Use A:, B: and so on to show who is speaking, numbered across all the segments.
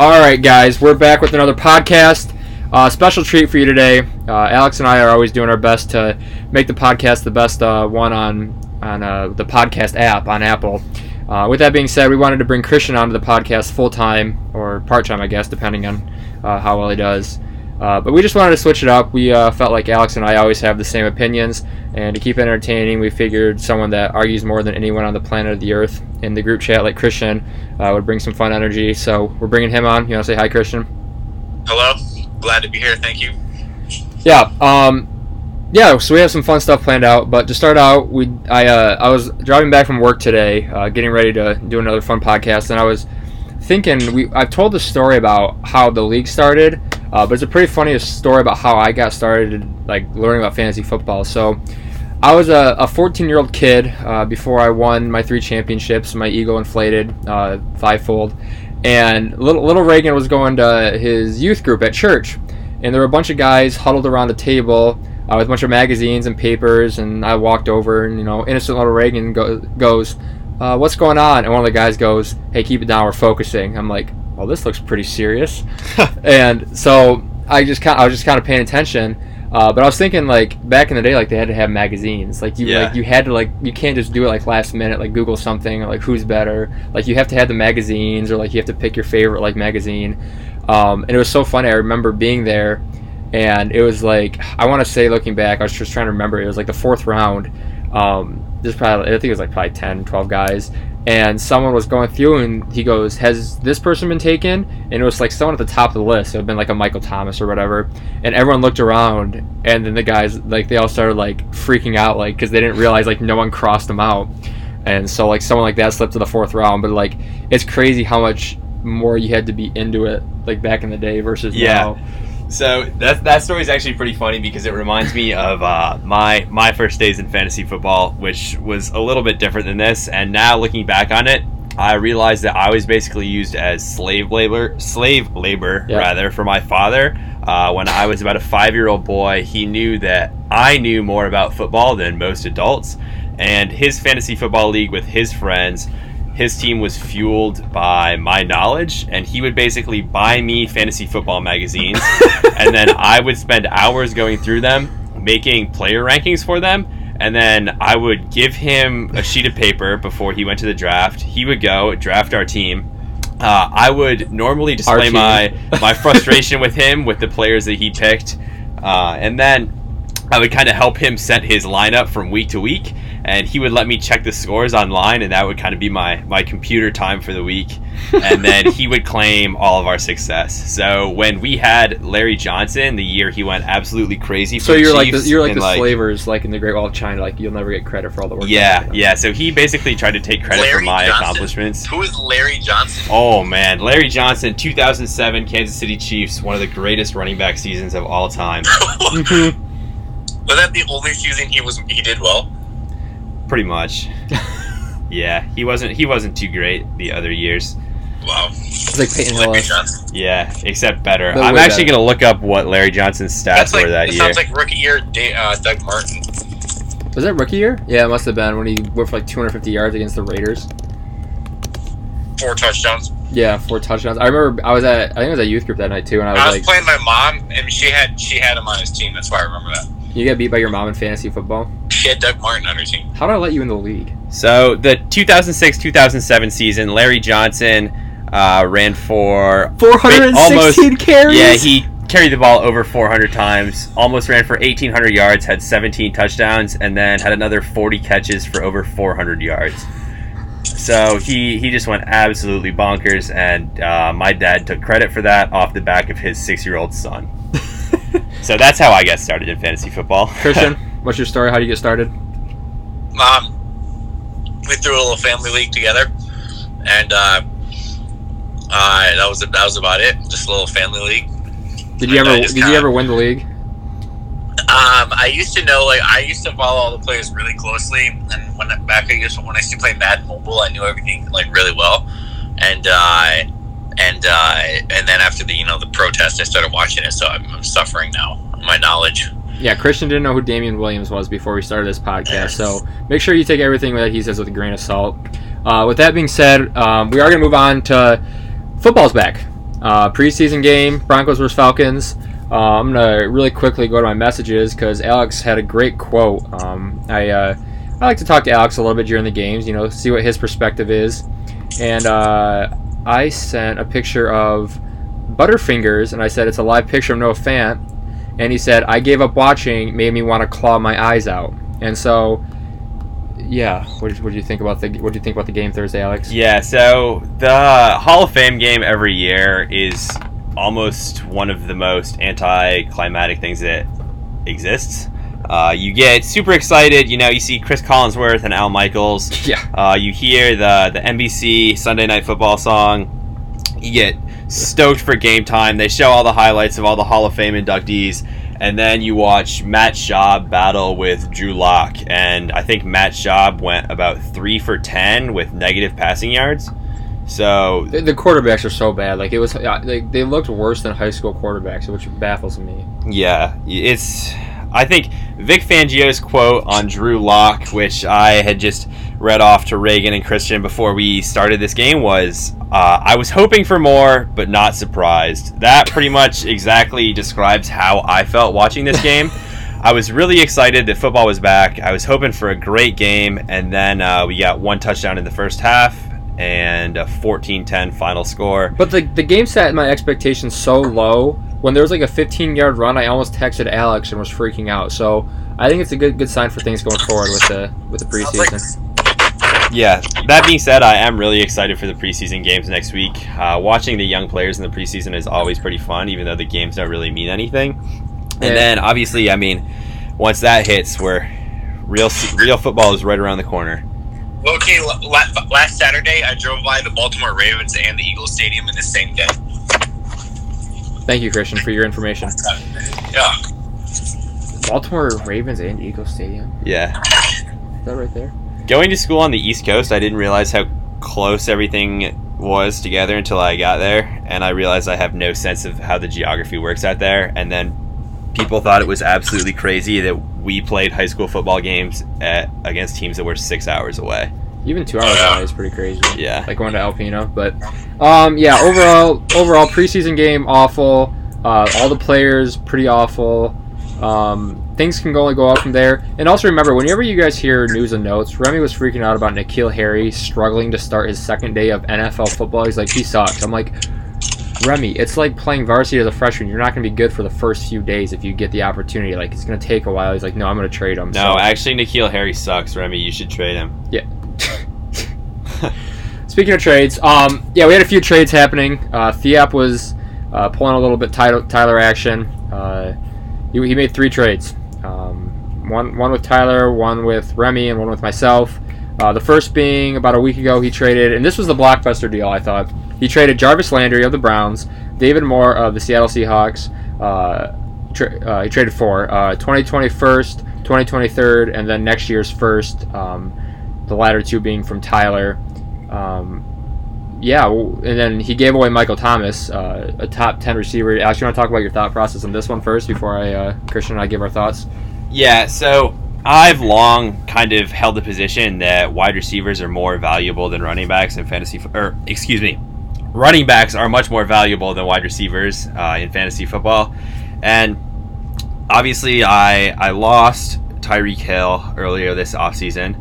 A: All right, guys, we're back with another podcast. Uh, special treat for you today. Uh, Alex and I are always doing our best to make the podcast the best uh, one on on uh, the podcast app on Apple. Uh, with that being said, we wanted to bring Christian onto the podcast full time or part time, I guess, depending on uh, how well he does. Uh, but we just wanted to switch it up. We uh, felt like Alex and I always have the same opinions, and to keep it entertaining, we figured someone that argues more than anyone on the planet of the Earth in the group chat, like Christian, uh, would bring some fun energy. So we're bringing him on. You want to say hi, Christian?
B: Hello. Glad to be here. Thank you.
A: Yeah. Um, yeah. So we have some fun stuff planned out. But to start out, we I uh, I was driving back from work today, uh, getting ready to do another fun podcast, and I was thinking we I've told the story about how the league started, uh, but it's a pretty funny story about how I got started like learning about fantasy football. So. I was a, a 14 year old kid uh, before I won my three championships. My ego inflated uh, fivefold, and little, little Reagan was going to his youth group at church, and there were a bunch of guys huddled around a table uh, with a bunch of magazines and papers. And I walked over, and you know, innocent little Reagan go, goes, uh, "What's going on?" And one of the guys goes, "Hey, keep it down. We're focusing." I'm like, "Well, this looks pretty serious," and so I just kind I was just kind of paying attention. Uh, but I was thinking like back in the day, like they had to have magazines. Like you,
B: Yeah.
A: like you had to like you can't just do it like last minute. Like Google something or like who's better. Like you have to have the magazines or like you have to pick your favorite like magazine. Um, and it was so funny. I remember being there, and it was like I want to say looking back, I was just trying to remember. It was like the fourth round. Um, there's probably I think it was like probably 10, 12 guys, and someone was going through and he goes, "Has this person been taken?" And it was like someone at the top of the list. It had been like a Michael Thomas or whatever, and everyone looked around, and then the guys like they all started like freaking out like because they didn't realize like no one crossed them out. And so like someone like that slipped to the fourth round, but like it's crazy how much more you had to be into it like back in the day versus
C: Yeah.
A: now.
C: So that that story is actually pretty funny because it reminds me of uh, my my first days in fantasy football, which was a little bit different than this. And now looking back on it, I realized that I was basically used as slave labor, slave labor
A: Yeah.
C: rather, for my father. Uh, when I was about a five year old boy, he knew that I knew more about football than most adults, and his fantasy football league with his friends his team was fueled by my knowledge, and he would basically buy me fantasy football magazines, and then I would spend hours going through them, making player rankings for them, and then I would give him a sheet of paper before he went to the draft. He would go draft our team. Uh, I would normally display
A: team.
C: my my frustration with him with the players that he picked, uh, and then I would kind of help him set his lineup from week to week, and he would let me check the scores online, and that would kind of be my my computer time for the week. And then he would claim all of our success. So when we had Larry Johnson, the year he went absolutely crazy. For
A: So
C: the
A: you're like the,
C: Chiefs
A: you're like
C: and,
A: the slavers like in the Great Wall of China. Like you'll never get credit for all the work.
C: Yeah, yeah. So he basically tried to take credit for
B: Larry
C: my
B: Johnson.
C: accomplishments.
B: Who is Larry Johnson?
C: Oh man, Larry Johnson, 2007 Kansas City Chiefs, one of the greatest running back seasons of all time.
B: was
A: Mhm.
B: that the only season he was he did well?
C: Pretty much. yeah, he wasn't he wasn't too great the other years.
B: Wow.
A: like Peyton
B: Larry
A: Hillis.
B: Johnson.
C: Yeah, except better.
A: But
C: I'm
A: way
C: actually
A: better.
C: gonna look up what Larry Johnson's stats
B: That's like
C: were that
B: that
C: year.
B: sounds like rookie year Da- uh, Doug Martin.
A: Was that rookie year? Yeah, it must have been when he went for like 250 yards against the Raiders.
B: Four touchdowns.
A: Yeah, four touchdowns. I remember I was at I think I was at youth group that night too, and I
B: I
A: was,
B: was,
A: like,
B: playing my mom and she had she had him on his team, that's why I remember that.
A: "You got beat by your mom in fantasy football.
B: She had Doug Martin on her team.
A: How did I let you in the league?"
C: so the 2006-2007 season, Larry Johnson uh, ran for 416 Almost.
A: carries.
C: yeah he carried the ball over 400 times, almost ran for 1,800 yards, had 17 touchdowns, and then had another 40 catches for over 400 yards. So he he just went absolutely bonkers, and uh, my dad took credit for that off the back of his six-year-old son. So that's how I got started in fantasy football.
A: Christian, what's your story? How do you get started?
B: Mom, we threw a little family league together and uh, uh, that was that was about it. Just a little family league.
A: Did you
B: I- I
A: ever
B: just
A: did you
B: kinda-
A: ever win the league?
B: Um, I used to know, like, I used to follow all the players really closely, and when back I used to, when I used to play Madden Mobile, I knew everything like really well, and uh, and uh, and then after the you know the protest, I started watching it, so I'm, I'm suffering now my knowledge.
A: Yeah, Christian didn't know who Damian Williams was before we started this podcast, so make sure you take everything that he says with a grain of salt. Uh, with that being said, um, we are going to move on to football's back. Uh, preseason game, Broncos versus Falcons. Uh, I'm gonna really quickly go to my messages because Alex had a great quote. Um, I uh, I like to talk to Alex a little bit during the games, you know, see what his perspective is. And uh, I sent a picture of Butterfingers, and I said it's a live picture of Noah Fant, and he said I gave up watching, made me want to claw my eyes out. And so, yeah, what, did- what do you think about the what do you think about the game Thursday, Alex?
C: Yeah, so the Hall of Fame game every year is almost one of the most anticlimactic things that exists. Uh, you get super excited, you know, you see Chris Collinsworth and Al Michaels.
A: Yeah.
C: Uh, you hear the the NBC Sunday Night Football song. You get stoked for game time. They show all the highlights of all the Hall of Fame inductees, and then you watch Matt Schaub battle with Drew Lock. And I think Matt Schaub went about three for ten with negative passing yards. So
A: The, the quarterbacks are so bad. Like it was, uh, like they looked worse than high school quarterbacks, which baffles me.
C: Yeah, it's. I think Vic Fangio's quote on Drew Locke, which I had just read off to Reagan and Christian before we started this game, was uh, I was hoping for more, but not surprised. That pretty much exactly describes how I felt watching this game. I was really excited that football was back. I was hoping for a great game, and then uh, we got one touchdown in the first half and a 14 10 final score.
A: But the the game set my expectations so low. When there was like a 15 yard run, I almost texted Alex and was freaking out. So I think it's a good good sign for things going forward with the with the
B: Sounds like-
A: preseason.
C: Yeah, that being said, I am really excited for the preseason games next week. Uh, watching the young players in the preseason is always pretty fun, even though the games don't really mean anything. And
A: Yeah.
C: then, obviously, I mean, once that hits, we're real real football is right around the corner.
B: Okay, la- la- last Saturday I drove by the Baltimore Ravens and the Eagles Stadium in the same day.
A: Thank you, Christian, for your information.
B: Yeah, oh,
A: Baltimore Ravens and Eagles Stadium.
C: Yeah,
A: Is that right there?
C: going to school on the East Coast, I didn't realize how close everything was together until I got there, and I realized I have no sense of how the geography works out there. And then people thought it was absolutely crazy that we played high school football games at, against teams that were six hours away.
A: Even two hours
B: Yeah.
A: away is pretty crazy.
C: Yeah.
A: like going to Alpino. But um, yeah, overall, overall preseason game awful. Uh, all the players pretty awful. Um, things can only go up from there. And also remember, whenever you guys hear news and notes, Remy was freaking out about Nikhil Harry struggling to start his second day of NFL football. He's like, he sucks. I'm like, Remy, it's like playing varsity as a freshman. You're not going to be good for the first few days if you get the opportunity. Like, it's going to take a while. He's like, no, I'm going to trade him.
C: No,
A: So-
C: actually, Nikhil Harry sucks, Remy. You should trade him.
A: Speaking of trades, um, yeah, we had a few trades happening. Uh, Theop was uh, pulling a little bit Tyler, Tyler action. Uh, he, he made three trades. Um, one one with Tyler, one with Remy, and one with myself. Uh, the first being about a week ago, he traded, and this was the blockbuster deal. I thought he traded Jarvis Landry of the Browns, David Moore of the Seattle Seahawks. Uh, tra- uh, he traded for uh, 2021st, 2023rd, and then next year's first. Um, the latter two being from Tyler. Um, yeah, w- and then he gave away Michael Thomas, uh, a top ten receiver. Alex, you want to talk about your thought process on this one first before I, uh, Christian and I give our thoughts?
C: Yeah, so I've long kind of held the position that wide receivers are more valuable than running backs in fantasy, fo- or excuse me, running backs are much more valuable than wide receivers uh, in fantasy football. And obviously, I I lost Tyreek Hill earlier this offseason.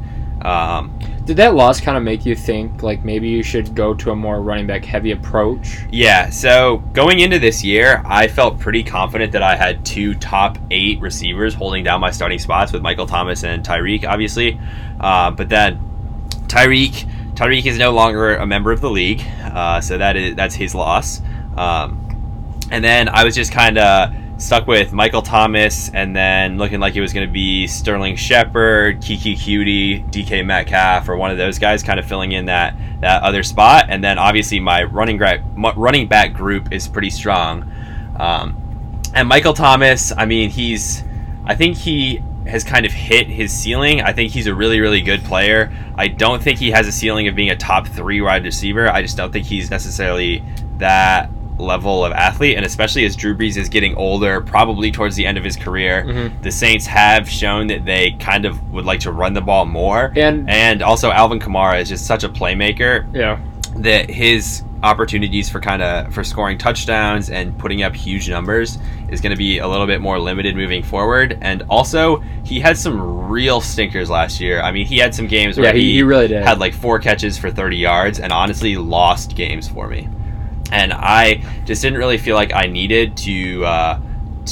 C: Um,
A: Did that loss kind of make you think like maybe you should go to a more running back heavy approach?
C: Yeah, so going into this year, I felt pretty confident that I had two top eight receivers holding down my starting spots with Michael Thomas and Tyreek, obviously. Uh, but then Tyreek, Tyreek is no longer a member of the league, uh, so that is that's his loss. Um, and then I was just kind of stuck with Michael Thomas, and then looking like it was going to be Sterling Shepard, Kiki Cutie, DK Metcalf, or one of those guys, kind of filling in that that other spot. And then obviously my running back running back group is pretty strong. Um, and Michael Thomas, I mean, he's I think he has kind of hit his ceiling. I think he's a really really good player. I don't think he has a ceiling of being a top three wide receiver. I just don't think he's necessarily that level of athlete and especially as Drew Brees is getting older probably towards the end of his career
A: Mhm.
C: the Saints have shown that they kind of would like to run the ball more
A: And
C: and also, Alvin Kamara is just such a playmaker
A: yeah,
C: that his opportunities for kind of for scoring touchdowns and putting up huge numbers is going to be a little bit more limited moving forward. And also, he had some real stinkers last year. I mean, he had some games where
A: Yeah, he, he really did.
C: had like four catches for 30 yards and honestly lost games for me. And I just didn't really feel like I needed to uh,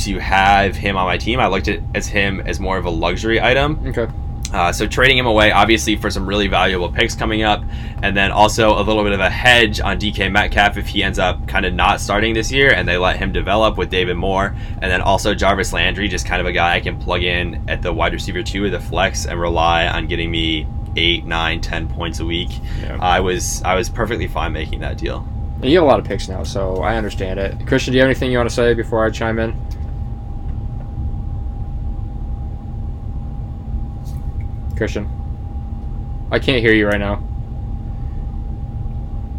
C: to have him on my team. I looked at as him as more of a luxury item.
A: okay.
C: Uh, so trading him away, obviously, for some really valuable picks coming up, and then also a little bit of a hedge on DK Metcalf if he ends up kind of not starting this year, and they let him develop with David Moore, and then also Jarvis Landry, just kind of a guy I can plug in at the wide receiver two or the flex and rely on getting me eight, nine, ten points a week.
A: Yeah.
C: I was I was perfectly fine making that deal.
A: You get a lot of picks now, so I understand it. Christian, do you have anything you want to say before I chime in? Christian, I can't hear you right now.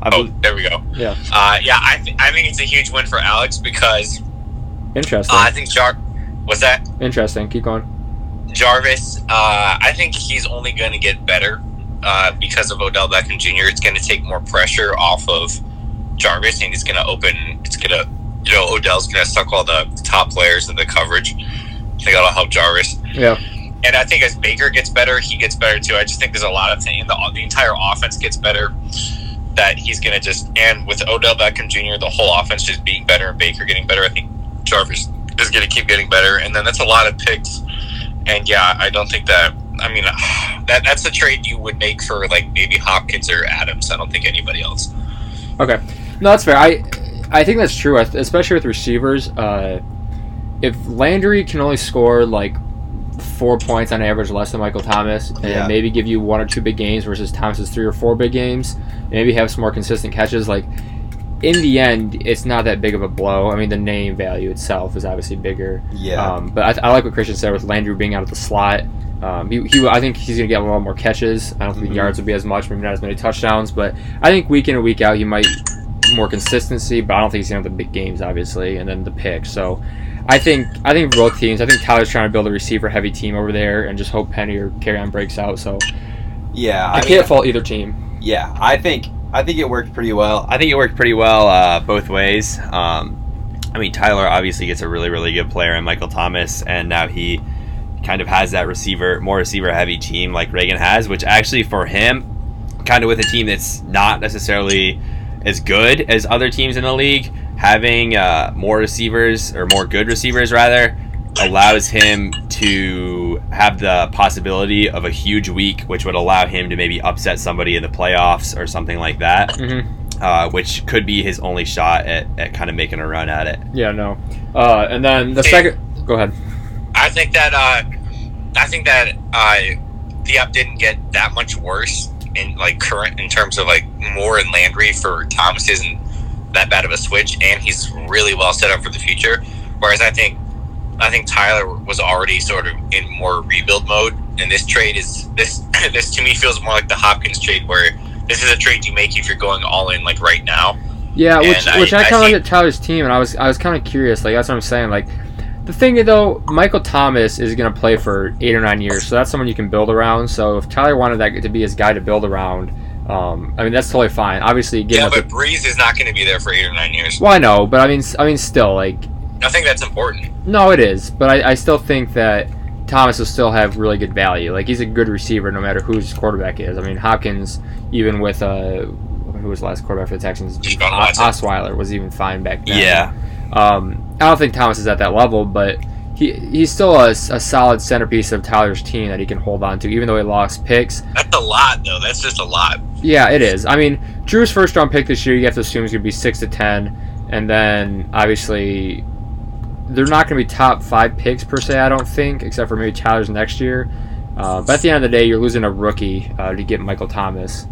C: I
B: Oh,
C: bel-
B: there we go.
A: Yeah,
B: Uh, yeah, I, th- I think it's a huge win for Alex because uh,
A: interesting.
B: I think Jar was that
A: interesting. Keep going.
B: Jarvis, uh, I think he's only going to get better uh, because of Odell Beckham Jr. It's going to take more pressure off of Jarvis, and he's going to open. It's going to, you know, Odell's going to suck all the top players in the coverage. I think that'll help Jarvis.
A: Yeah,
B: And I think as Baker gets better, he gets better too. I just think there's a lot of things. The, the entire offense gets better. That he's going to just and with Odell Beckham Jr. the whole offense just being better and Baker getting better. I think Jarvis is going to keep getting better, and then that's a lot of picks. And yeah, I don't think that. I mean, that that's a trade you would make for like maybe Hopkins or Adams. I don't think anybody else.
A: okay. No, that's fair. I I think that's true, I- especially with receivers. Uh, if Landry can only score like four points on average less than Michael Thomas, and
C: Yeah.
A: maybe give you one or two big games versus Thomas's three or four big games, and maybe have some more consistent catches. Like in the end, it's not that big of a blow. I mean, the name value itself is obviously bigger. Um, but I, I like what Christian said with Landry being out of the slot. Um, he, he, I think he's going to get a lot more catches. I don't think
C: Mhm.
A: yards will be as much, maybe not as many touchdowns. But I think week in and week out, he might more consistency. But I don't think he's going to have the big games, obviously, and then the pick. So I think I think both teams. I think Tyler's trying to build a receiver heavy team over there and just hope Penny or Carry on breaks out. So
C: yeah,
A: I, can't fault either team.
C: yeah i think i think it worked pretty well i think it worked pretty well uh, both ways um, i mean tyler obviously gets a really really good player in michael thomas and now he kind of has that receiver more receiver heavy team like reagan has which actually for him kind of with a team that's not necessarily as good as other teams in the league having uh, more receivers or more good receivers rather allows him to have the possibility of a huge week, which would allow him to maybe upset somebody in the playoffs or something like that,
A: hmm
C: uh, which could be his only shot at, at kind of making a run at it.
A: Yeah, no. Uh, and then the
B: Hey.
A: second. Go ahead.
B: I think that uh, I think that uh, the app didn't get that much worse in like current in terms of like Moore and Landry for Thomas isn't that bad of a switch, and he's really well set up for the future. Whereas I think I think Tyler was already sort of in more rebuild mode, and this trade is this this to me feels more like the Hopkins trade where. This is a trade you make if you're going all in, like right now.
A: Yeah,
B: And
A: which
B: I-
A: which I,
B: I
A: kind of looked at
B: think-
A: Tyler's team, and I was I was kind of curious. Like that's what I'm saying. Like the thing though, Michael Thomas is going to play for eight or nine years, so that's someone you can build around. So if Tyler wanted that to be his guy to build around, um, I mean that's totally fine. Obviously, give
B: Yeah,
A: him
B: but Breeze is not going to be there for eight or nine years.
A: a, well, I know, but I mean s- I mean still like
B: I think that's important.
A: no, it is, but I, I still think that Thomas will still have really good value. Like he's a good receiver, no matter who his quarterback is. I mean Hopkins, even with uh, who was the last quarterback for the Texans,
B: Deshaun
A: O-
B: Watson.
A: Osweiler was even fine back then. Um, I don't think Thomas is at that level, but he he's still a, s- a solid centerpiece of Tyler's team that he can hold on to, even though he lost picks.
B: That's a lot, though. That's just a lot.
A: Yeah, it is. I mean, Drew's first round pick this year, you have to assume is going to be six to ten, and then obviously they're not going to be top five picks per se. I don't think, except for maybe Tyler's next year. Uh, but at the end of the day, you're losing a rookie uh, to get Michael Thomas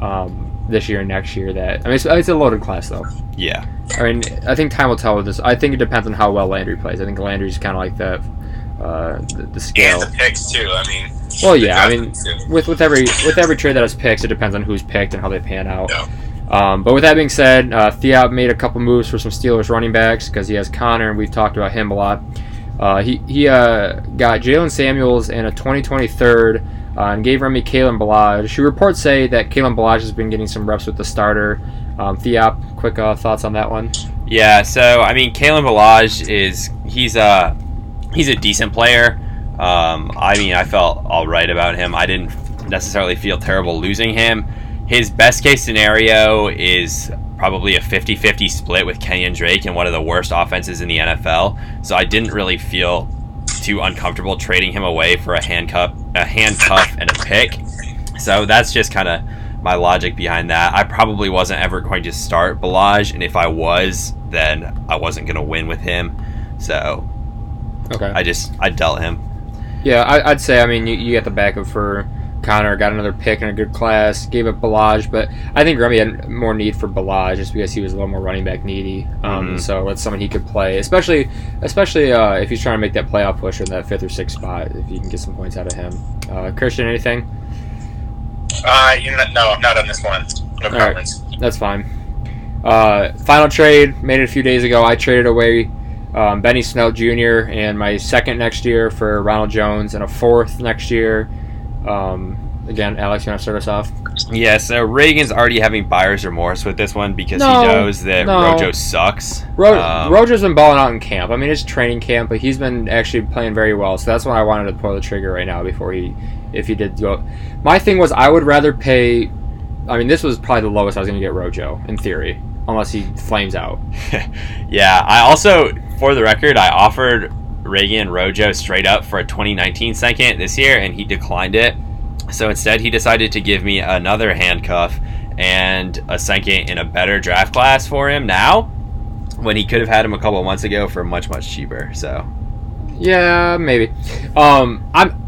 A: um, this year and next year. That I mean, it's, it's a loaded class though.
C: Yeah.
A: I mean, I think time will tell with this. I think it depends on how well Landry plays. I think Landry's kind of like the, uh, the, the
B: And
A: scale.
B: the picks too. I mean,
A: Well, yeah, I
B: the
A: mean,
B: draft picks, too.
A: with with every with every trade that has picks, it depends on who's picked and how they pan out.
B: Yeah.
A: Um, but with that being said, uh, Theop made a couple moves for some Steelers running backs because he has Connor, and we've talked about him a lot. Uh, he he uh, got Jalen Samuels and a 2023rd uh, and gave Remy Kalen Balaj. She reports say that Kalen Balaj has been getting some reps with the starter. Um, Theop, quick uh, thoughts on that one?
C: Yeah, so I mean, Kalen Balaj is he's a he's a decent player. Um, I mean, I felt all right about him. I didn't necessarily feel terrible losing him. His best case scenario is probably a 50-50 split with Kenyon Drake and one of the worst offenses in the NFL. So I didn't really feel too uncomfortable trading him away for a handcuff, a handcuff, and a pick. So that's just kind of my logic behind that. I probably wasn't ever going to start Balaj, and if I was, then I wasn't going to win with him. So
A: Okay.
C: I just I dealt him.
A: Yeah, I, I'd say. I mean, you, you got the backup for Connor. Got another pick in a good class. Gave up Balaj, but I think Remy had more need for Balaj just because he was a little more running back needy. Um,
C: Mhm.
A: So that's someone he could play, especially especially uh, if he's trying to make that playoff push in that fifth or sixth spot. If you can get some points out of him, uh, Christian, anything?
B: Uh, you know, no, not on this one. No
A: right.
B: comments.
A: That's fine. Uh, final trade made it a few days ago. I traded away um, Benny Snell Jr. and my second next year for Ronald Jones and a fourth next year. Um, again, Alex, you want to start us off?
C: Yeah, so Reagan's already having buyer's remorse with this one because
A: No,
C: he knows that
A: no.
C: Rojo sucks.
A: Ro-
C: Um,
A: Rojo's been balling out in camp. I mean, it's training camp, but he's been actually playing very well. So that's why I wanted to pull the trigger right now before he, if he did go. My thing was I would rather pay. I mean, this was probably the lowest I was going to get Rojo in theory, unless he flames out.
C: yeah, I also, for the record, I offered Reagan Rojo straight up for a 2019 second this year, and he declined it. So instead, he decided to give me another handcuff and a second in a better draft class for him now, when he could have had him a couple months ago for much much cheaper. So
A: Yeah, maybe. Um, I'm.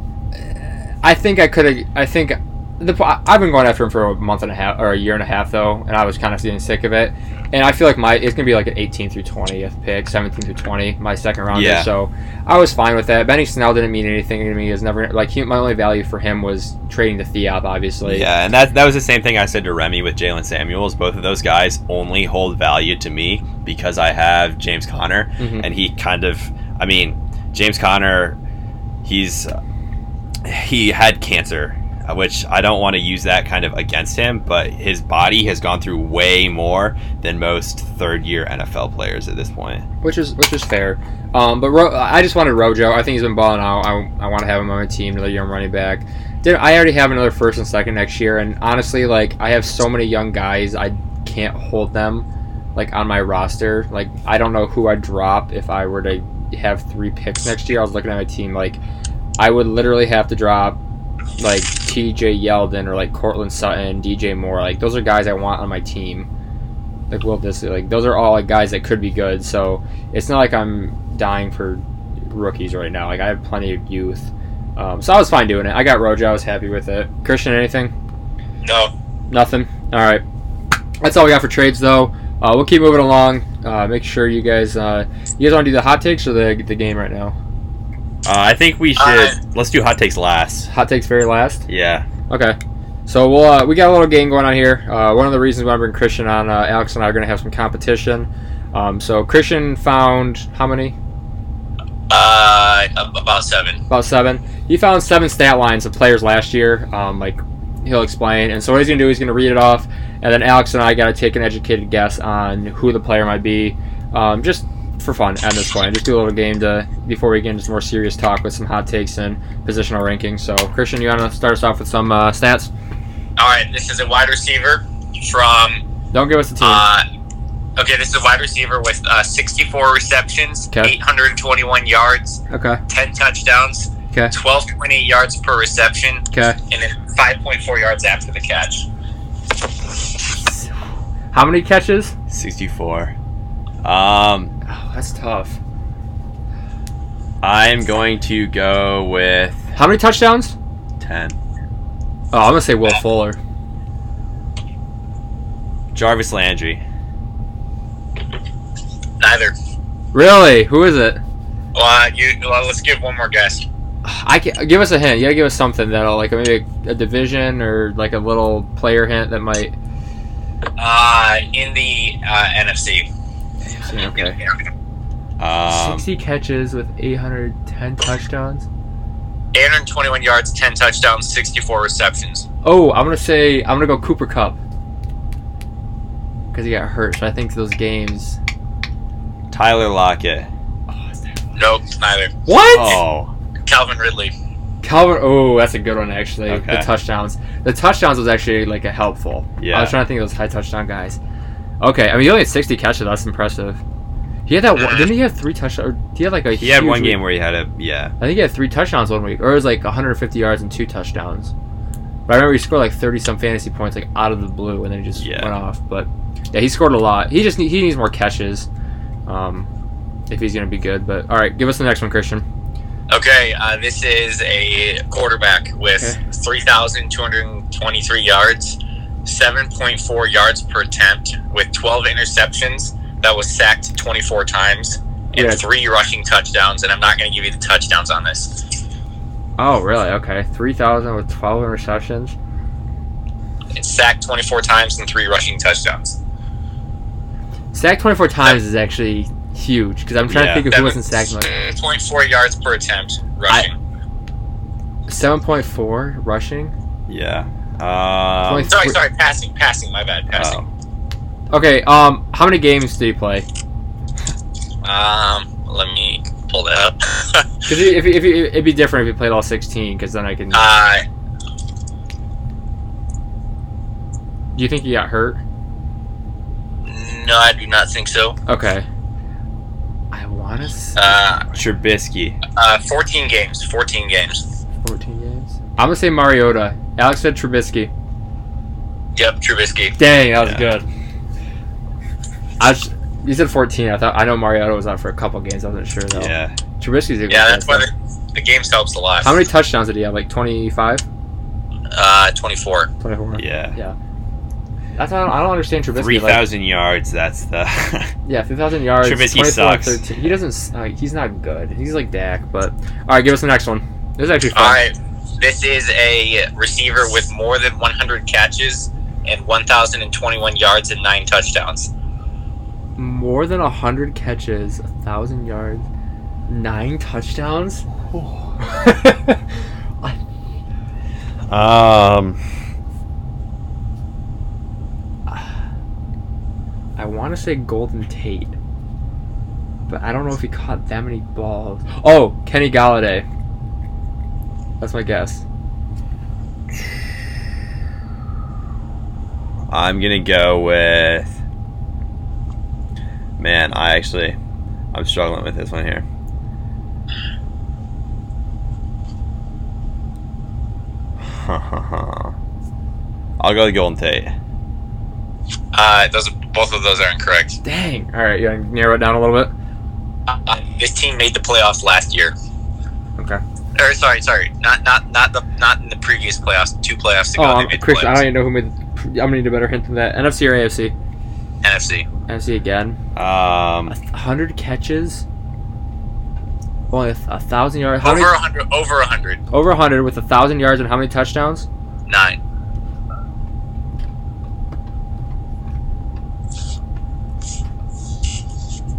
A: I think I could have. I think the. I've been going after him for a month and a half or a year and a half though, and I was kind of getting sick of it. And I feel like my it's gonna be like an 18 through 20th pick, 17 through 20, my second round.
C: Yeah.
A: So I was fine with that. Benny Snell didn't mean anything to me. Is never like he, my only value for him was trading the Theop, obviously.
C: yeah, and that that was the same thing I said to Remy with Jalen Samuels. Both of those guys only hold value to me because I have James Conner,
A: Mhm.
C: and he kind of i mean james Conner, he's he had cancer uh, which i don't want to use that kind of against him but his body has gone through way more than most third year nfl players at this point
A: which is which is fair. Um, but Ro- I just wanted Rojo. I think he's been balling out. I, I want to have him on my team, another young running back. Did I already have another first and second next year? And honestly, like I have so many young guys, I can't hold them like on my roster. Like I don't know who I would drop if I were to have three picks next year. I was looking at my team like I would literally have to drop like T.J. Yeldon or like Cortland Sutton, D.J. Moore. Like those are guys I want on my team. Like Will Disley. Like those are all like guys that could be good. So it's not like I'm dying for rookies right now. Like I have plenty of youth, um, so I was fine doing it. I got Rojo. I was happy with it. Christian, anything?
B: No.
A: Nothing. All right. That's all we got for trades, though. Uh, we'll keep moving along. Uh, make sure you guys, uh, you guys want to do the hot takes or the the game right now?
C: uh, i think we should
B: Uh,
C: let's do hot takes last
A: Hot takes very last.
C: yeah
A: Okay. So we'll uh, we got a little game going on here. Uh, one of the reasons why I bring Christian on, uh, Alex and I are going to have some competition. Um, so Christian found how many?
B: Uh, ab- about seven.
A: about seven. He found seven stat lines of players last year. Um, like he'll explain. And so what he's gonna do, he's gonna read it off, and then Alex and I gotta take an educated guess on who the player might be, um, just for fun at this point. Just do a little game to before we get into some more serious talk with some hot takes and positional rankings. So Christian, you wanna start us off with some uh, stats?
B: All right, this is a wide receiver from.
A: Don't give us the team.
B: Uh, okay, this is a wide receiver with uh, 64 receptions,
A: Okay.
B: 821 yards,
A: okay.
B: 10 touchdowns,
A: Okay.
B: 12.8 yards per reception,
A: Okay.
B: and then 5.4 yards after the catch.
A: How many catches?
C: 64 um
A: Oh, that's tough.
C: i'm going to go with
A: How many touchdowns?
C: 10
A: Oh, I'm gonna say Will Fuller.
C: jarvis landry
B: Neither.
A: Really? Who is it?
B: Well, uh, you, well, let's give one more guess.
A: I can, give us a hint. You gotta give us something that'll like maybe a, a division or like a little player hint that might.
B: Uh, in the uh, NFC.
A: Okay.
C: um,
A: Sixty catches with eight hundred ten touchdowns.
B: 821 yards, 10 touchdowns, 64 receptions.
A: Oh, I'm gonna say I'm gonna go Cooper Cup. because he got hurt. So I think those games.
C: Tyler Lockett.
B: Nope, neither.
A: What?
C: Oh,
B: Calvin Ridley.
A: Calvin. Oh, that's a good one actually.
C: Okay.
A: The touchdowns. The touchdowns was actually like a helpful. I
C: Yeah.
A: was trying to think of those high touchdown guys. Okay, I mean he only had 60 catches. That's impressive. He had that. One, didn't he have three touchdowns? He had like a.
C: he had
A: huge
C: one
A: week-
C: game where he had a yeah.
A: I think he had three touchdowns one week, or it was like 150 yards and two touchdowns. But I remember he scored like 30 some fantasy points like out of the blue, and then he just
C: Yeah.
A: went off. But yeah, he scored a lot. He just need, he needs more catches, um, if he's gonna be good. But all right, give us the next one, Christian.
B: Okay, uh, this is a quarterback with
A: Okay.
B: 3,223 yards, 7.4 yards per attempt, with 12 interceptions that was sacked 24 times, and
A: Yeah.
B: three rushing touchdowns. And I'm not going to give you the touchdowns on this.
A: Oh really? Okay, 3,000 with 12 interceptions.
B: It's sacked 24 times and three rushing touchdowns.
A: Sack 24 times is actually huge because I'm trying
C: Yeah,
A: to think of who wasn't sacked. Like
B: 7.4 yards per attempt rushing.
A: 7.4 rushing.
C: Yeah. Um,
A: Twenty-
B: sorry, sorry, passing, passing. My bad,
C: oh,
B: passing.
A: Okay, um, how many games did he play?
B: Um, let me pull that up.
A: Because if, if, if it'd be different if he played all 16, because then I can.
B: uh,
A: Do you think he got hurt?
B: no, I do not think so.
A: Okay. I want to say
B: Uh,
C: Trubisky.
B: uh, 14 games. 14 games.
A: 14 games. I'm gonna say Mariota. Alex said Trubisky.
B: Yep, Trubisky.
A: Dang, that was
C: Yeah.
A: good. I was, you said 14. I thought I know Mariota was out for a couple games. I wasn't sure though.
C: Yeah.
A: Trubisky's a good
B: Yeah, that's
A: guy,
B: why
A: so-
B: the, the games helps a lot.
A: How many touchdowns did he have? Like 25,
B: Uh, 24.
A: 24.
C: Yeah.
A: That's why I don't, I don't understand Trubisky.
C: Three
A: like,
C: thousand yards. That's the.
A: yeah, 3,000 yards.
C: Trubisky
A: 24,
C: sucks.
A: 13. He doesn't. s- Uh, he's not good. He's like Dak. But all right, give us the next one. This is actually fun.
B: All right. This is a receiver with more than 100 catches and 1,021 yards and nine touchdowns.
A: more than 100 catches, 1,000 yards, 9 touchdowns. Oh.
C: um.
A: I want to say Golden Tate, but I don't know if he caught that many balls. Oh, Kenny Galladay. That's my guess.
C: I'm gonna go with. Man, I actually, I'm struggling with this one here. I'll go with Golden Tate.
B: Uh, those both of those are incorrect.
A: Dang. All right, you want to narrow it down a little bit?
B: Uh, this team made the playoffs last year.
A: Okay.
B: Or sorry, sorry, not not not the not in the previous playoffs. Two playoffs
A: Oh,
B: ago. they
A: I'm,
B: made the
A: Christian, I don't
B: playoffs.
A: even know who made. I'm gonna need a better hint than that. NFC or AFC?
B: NFC.
A: NFC again.
C: Um,
A: 100 catches. Only a, th- a thousand yards. How
B: Over
A: many,
B: a hundred. Over a hundred.
A: over 100 with a thousand yards and how many touchdowns?
B: Nine.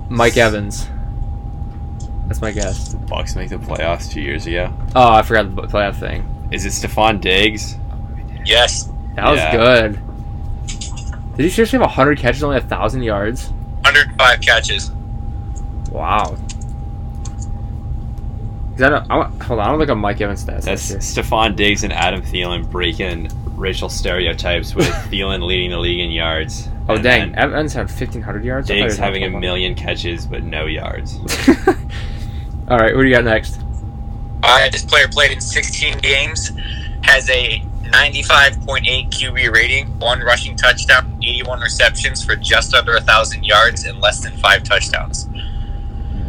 A: Mike Evans. That's my guess.
C: Bucks make the playoffs two years ago.
A: Oh, I forgot the bu- playoff thing.
C: Is it Stephon Diggs?
B: Yes.
A: That was
C: Yeah.
A: good. Did he seriously have 100 catches, only 1,000 yards?
B: 105 catches.
A: Wow. Is that a, I want, hold on, I don't look at Mike Evans' stats. this
C: That's
A: year.
C: Stephon Diggs and Adam Thielen breaking racial stereotypes with Thielen leading the league in yards.
A: Oh,
C: and
A: dang.
C: then
A: Evans had 1,500 yards? I thought he
C: Diggs
A: was on
C: having a
A: 1200.
C: million catches but no yards.
A: All right, what do you got next?
B: Uh, this player played in 16 games, has a 95.8 QB rating, one rushing touchdown, 81 receptions for just under 1,000 yards and less than five touchdowns.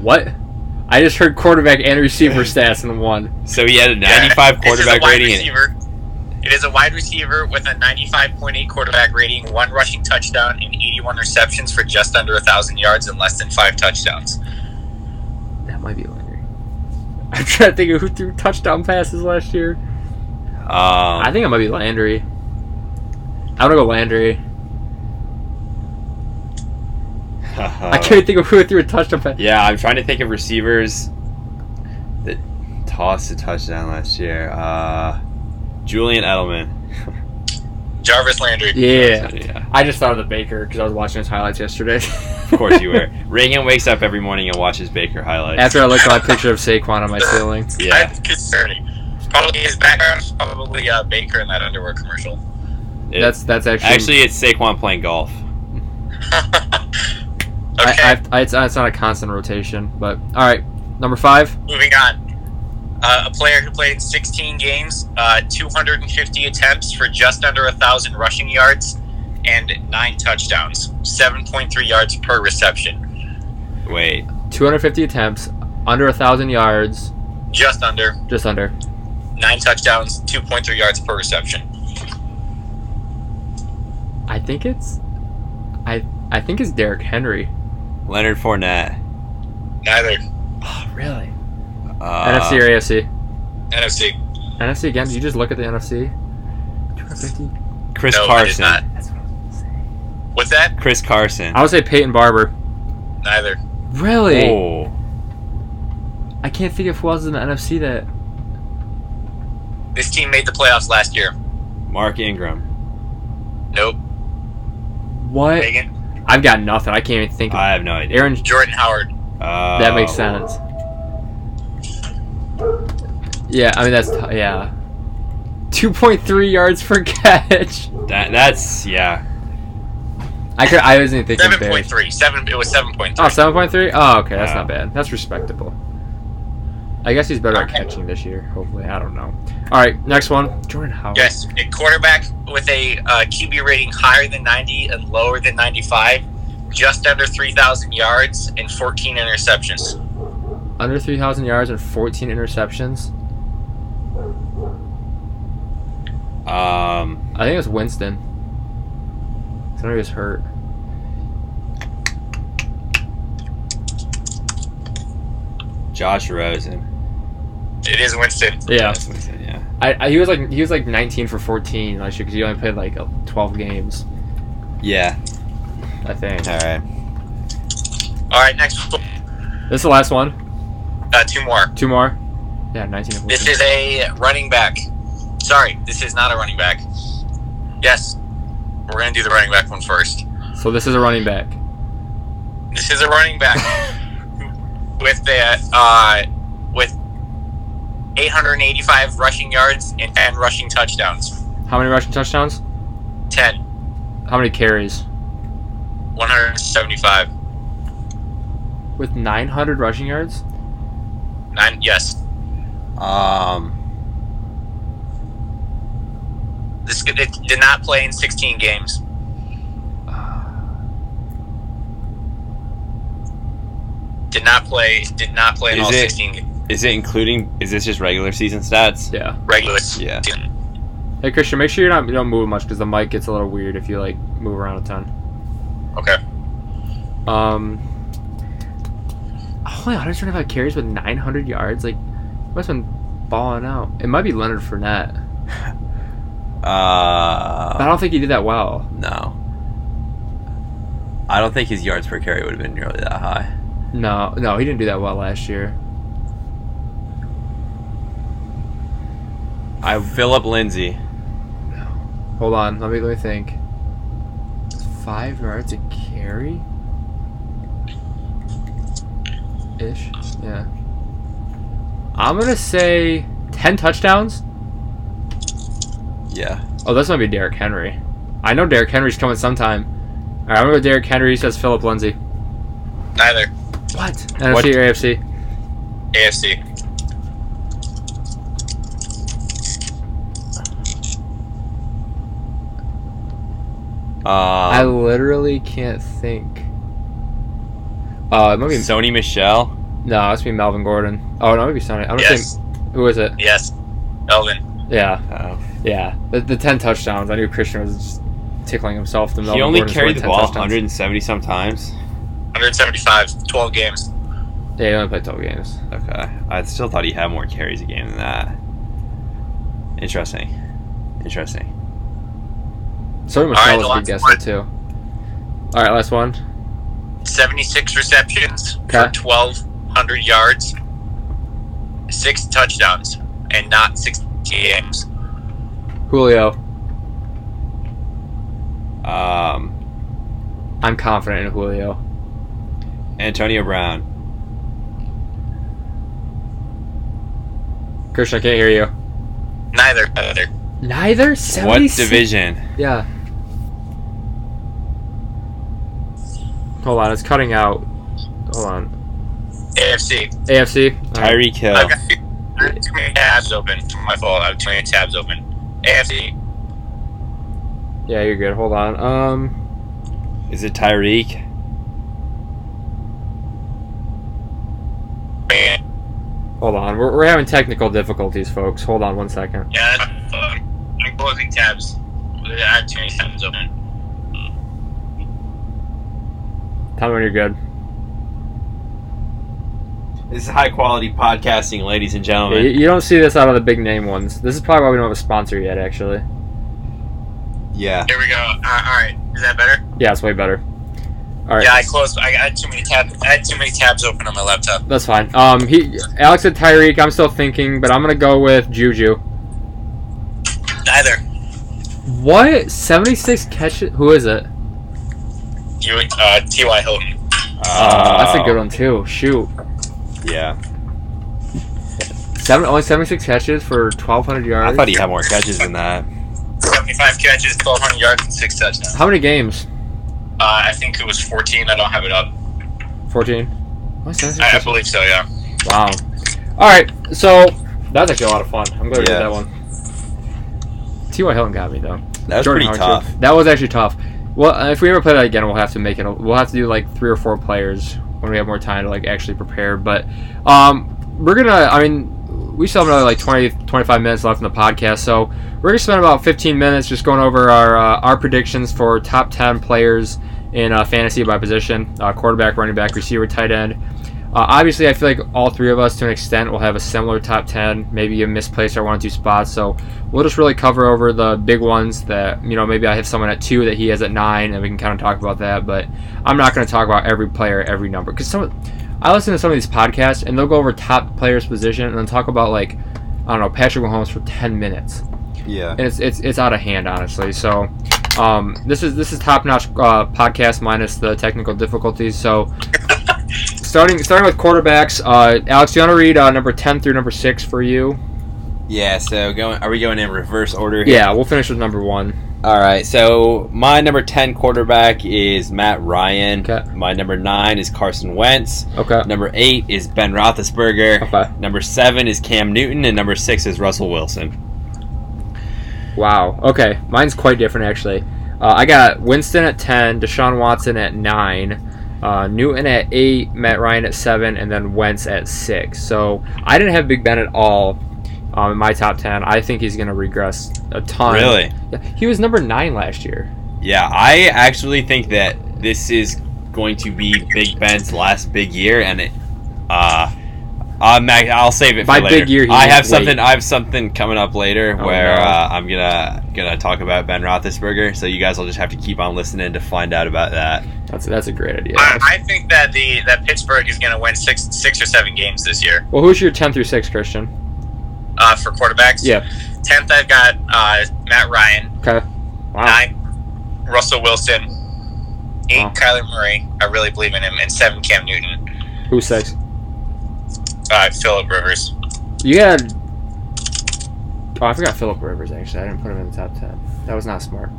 A: What? I just heard quarterback and receiver stats in one.
C: So he had a
B: Yeah,
C: 95
B: this is a
C: quarterback
B: wide
C: rating. and-
B: Receiver. It is a wide receiver with a 95.8 quarterback rating, one rushing touchdown, and 81 receptions for just under 1,000 yards and less than five touchdowns.
A: That might be Landry. I'm trying to think of who threw touchdown passes last year.
C: Um,
A: I think I might be Landry. I'm gonna go Landry. I can't think of who threw a touchdown pass.
C: Yeah, I'm trying to think of receivers that tossed a touchdown last year. Uh, Julian Edelman.
B: Jarvis Landry.
A: Yeah.
C: yeah.
A: I just thought of the Baker because I was watching his highlights yesterday.
C: Of course you were. Reagan wakes up every morning and watches Baker highlights.
A: After I looked at my picture of Saquon on my ceiling.
C: yeah,
B: That's concerning. Probably his background's probably uh, Baker in that underwear commercial.
C: it-
A: That's that's actually
C: actually it's Saquon playing golf.
B: okay,
A: I, I, I, it's, it's not a constant rotation, but all right. Number five.
B: moving on. Uh, a player who played 16 games, uh, 250 attempts for just under 1,000 rushing yards, and nine touchdowns, 7.3 yards per reception.
C: Wait,
A: 250 attempts, under a thousand yards,
B: Just under
A: just under.
B: nine touchdowns, 2.3 yards per reception.
A: I think it's, I I think it's Derrick Henry.
C: Leonard Fournette.
B: Neither
A: Oh, really?
C: Uh,
A: NFC or AFC?
B: NFC.
A: NFC again? Did you just look at the NFC? 250.
C: Chris
B: No, it is
C: Carson.
B: not.
A: That's what I was gonna say.
B: What's that?
C: Chris Carson.
A: I would say Peyton Barber.
B: Neither.
A: Really?
C: Oh,
A: I can't think of who else is in the NFC that.
B: This team made the playoffs last year.
C: Mark Ingram.
B: Nope.
A: What?
B: Megan.
A: I've got nothing. I can't even think of.
C: I have no idea.
A: Aaron.
B: Jordan Howard.
C: Uh,
A: That makes sense. Yeah, I mean that's t- yeah. Two point three yards per catch.
C: That, that's yeah.
A: I could. I wasn't even thinking
B: Seven
A: Bears.
B: point three. Seven. It was seven point three.
A: Oh, 7.3? Oh, okay, that's
C: Yeah.
A: not bad. That's respectable. I guess he's better at
B: Okay.
A: catching this year. Hopefully, I don't know. All right, next one. Jordan Howard.
B: Yes, a quarterback with a uh, QB rating higher than 90 and lower than 95, just under 3,000 yards and 14 interceptions.
A: Under three thousand yards and fourteen interceptions.
C: Um,
A: I think it was Winston. Somebody was hurt.
C: Josh Rosen.
B: It is Winston.
A: Yeah,
C: That's what I said, yeah.
A: I, I he was like he was like nineteen for fourteen last year because he only played like uh, twelve games,
C: Yeah.
A: I think.
C: All right.
B: All right, next
A: This is the last one.
B: uh, two more.
A: Two more. Yeah, nineteen. and
B: This
A: 14.
B: is a running back. Sorry, this is not a running back. Yes, we're going to do the running back one first.
A: so this is a running back.
B: This is a running back with the uh, with 885 rushing yards and 10 rushing touchdowns.
A: How many rushing touchdowns?
B: 10,
A: How many carries?
B: 175.
A: With nine hundred rushing yards.
B: Nine. Yes.
C: Um,
B: This it did not play in 16 games. Did not play. Did not play in
C: Is
B: all
C: it-
B: 16 ga-
C: is it including? Is this just regular season stats?
A: Yeah.
B: regular
C: Yeah.
B: season.
A: Hey Christian, make sure you're not you don't move much because the mic gets a little weird if you like move around a ton.
B: Okay.
A: Um. Oh, 125 carries with 900 yards. Like, must have been balling out. It might be Leonard Fournette, but I
C: Uh,
A: don't think he did that well.
C: no. I don't think his yards per carry would have been nearly that high.
A: No, no, he didn't do that well last year.
C: I Philip Lindsay.
A: Hold on, let me let me think. Five yards a carry. Ish. Yeah. I'm gonna say ten touchdowns.
C: Yeah.
A: Oh, this might be Derrick Henry. I know Derrick Henry's coming sometime. All right, I'm gonna go Derrick Henry. He says Philip Lindsay.
B: Neither
A: What? NFC
C: What?
A: or AFC?
B: AFC.
C: Uh,
A: I literally can't think. Uh, it might be
C: Sony Michelle.
A: no. It's be Melvin Gordon. Oh no, it might be Sonny. I'm gonna
B: Yes.
A: say who is it?
B: Yes. Elvin.
A: Yeah.
C: Oh.
A: Yeah, the, the ten touchdowns. I knew Christian was just tickling himself. The
C: He only carried the ball 170 some times.
B: 175. 12 games.
A: Yeah, he only played twelve games.
C: Okay. I still thought he had more carries a game than that. Interesting. Interesting.
A: So
B: right,
A: Michelle was a good
B: the last
A: guess
B: one.
A: there too. All right, last one.
B: 76 receptions
A: Okay.
B: for 1,200 yards, six touchdowns, and not 16 games.
A: Julio.
C: Um,
A: I'm confident in Julio.
C: Antonio Brown.
A: Christian, I can't hear you.
B: Neither. Neither.
A: Neither.
C: What
A: 76?
C: division?
A: Yeah. Hold on, it's cutting out. Hold on.
B: AFC.
A: AFC. All right.
C: Tyreek Hill.
B: I've got I have too many tabs open. My fault. I have too many tabs open. AFC.
A: Yeah, you're good. Hold on. Um,
C: Is it Tyreek?
B: Man.
A: hold on. We're, we're having technical difficulties, folks. Hold on one second.
B: Yeah. that's fun. I'm closing tabs. I have too many tabs open.
A: Tell me when you're good.
C: This is high quality podcasting, ladies and
A: Yeah, you,
C: gentlemen.
A: you don't see this out of the big name ones. This is probably why we don't have a sponsor yet, actually.
C: Yeah.
B: There we go. Uh, all right. Is that better?
A: Yeah, it's way better. All right.
B: Yeah. I closed. I had too many tabs. I had too many tabs open on my laptop.
A: That's fine. Um, he Alex said Tyreek. I'm still thinking, but I'm gonna go with Juju.
B: Neither.
A: What? 76 catches? Who is it?
B: You. Uh, T.Y. Hilton.
A: Uh, that's a good one too. Shoot,
C: Yeah.
A: seven only 76 catches for 1,200 yards.
C: I thought he had more catches than that.
B: 75 catches, 1,200 yards, and six touchdowns. Uh,
A: How many games?
B: I think it was 14. I don't have it up.
A: 14. Only 76
B: I, I
A: catches?
B: believe so. Yeah.
A: Wow. All right, so that's actually a lot of fun. I'm glad we did
C: Yeah.
A: that one. T.Y. Hilton got me though.
C: That was
A: Jordan
C: pretty
A: Howard,
C: tough.
A: too. That was actually tough. Well, uh, if we ever play that again, we'll have to make it. a- We'll have to do like three or four players when we have more time to like actually prepare. But um, we're gonna. I mean, we still have another like 20, 25 minutes left in the podcast, so we're gonna spend about fifteen minutes just going over our uh, our predictions for top ten players in uh, fantasy by position: uh, quarterback, running back, receiver, tight end. Uh, obviously, I feel like all three of us, to an extent, will have a similar top ten. Maybe a misplaced or one or two spots. So we'll just really cover over the big ones that you know. Maybe I have someone at two that he has at nine, and we can kind of talk about that. But I'm not going to talk about every player, every number, because some. I listen to some of these podcasts, and they'll go over top players' position, and then talk about like, I don't know, Patrick Mahomes for ten minutes
C: Yeah.
A: and it's it's it's out of hand, honestly. So, um, this is this is top notch uh, podcast minus the technical difficulties. So, starting starting with quarterbacks, uh, Alex, do you want to read uh, number ten through number six for you?
C: Yeah, so going are we going in reverse order here?
A: Yeah, we'll finish with number one.
C: All right. So my number 10 quarterback is Matt Ryan.
A: Okay.
C: My number 9 is Carson Wentz.
A: Okay.
C: Number 8 is Ben Roethlisberger.
A: Okay.
C: Number 7 is Cam Newton and number 6 is Russell Wilson.
A: Wow. Okay. Mine's quite different actually. Uh, I got Winston at ten, Deshaun Watson at nine. Uh, Newton at eight, Matt Ryan at seven, and then Wentz at six. So I didn't have Big Ben at all um, in my top ten. I think he's going to regress a ton.
C: Really?
A: He was number nine last year.
C: Yeah, I actually think that this is going to be Big Ben's last big year, and it. Uh, I'm, act- I'll save it
A: By
C: for later.
A: big year, he
C: I
A: means
C: have
A: wait.
C: something. I have something coming up later
A: Oh,
C: where
A: no.
C: uh, I'm gonna gonna talk about Ben Roethlisberger. So you guys will just have to keep on listening to find out about that.
A: That's that's a great idea.
B: I, I think that the that Pittsburgh is going to win six six or seven games this year
A: well, who's your ten through six, Christian?
B: uh, for quarterbacks.
A: Yeah.
B: Tenth, I've got uh, Matt Ryan.
A: Okay. Wow.
B: Nine, Russell Wilson. Eight,
A: Wow.
B: Kyler Murray. I really believe in him. And seven, Cam Newton.
A: Who's six?
B: Uh, Philip Rivers.
A: You had. Oh, I forgot Philip Rivers. Actually, I didn't put him in the top ten. That was not smart.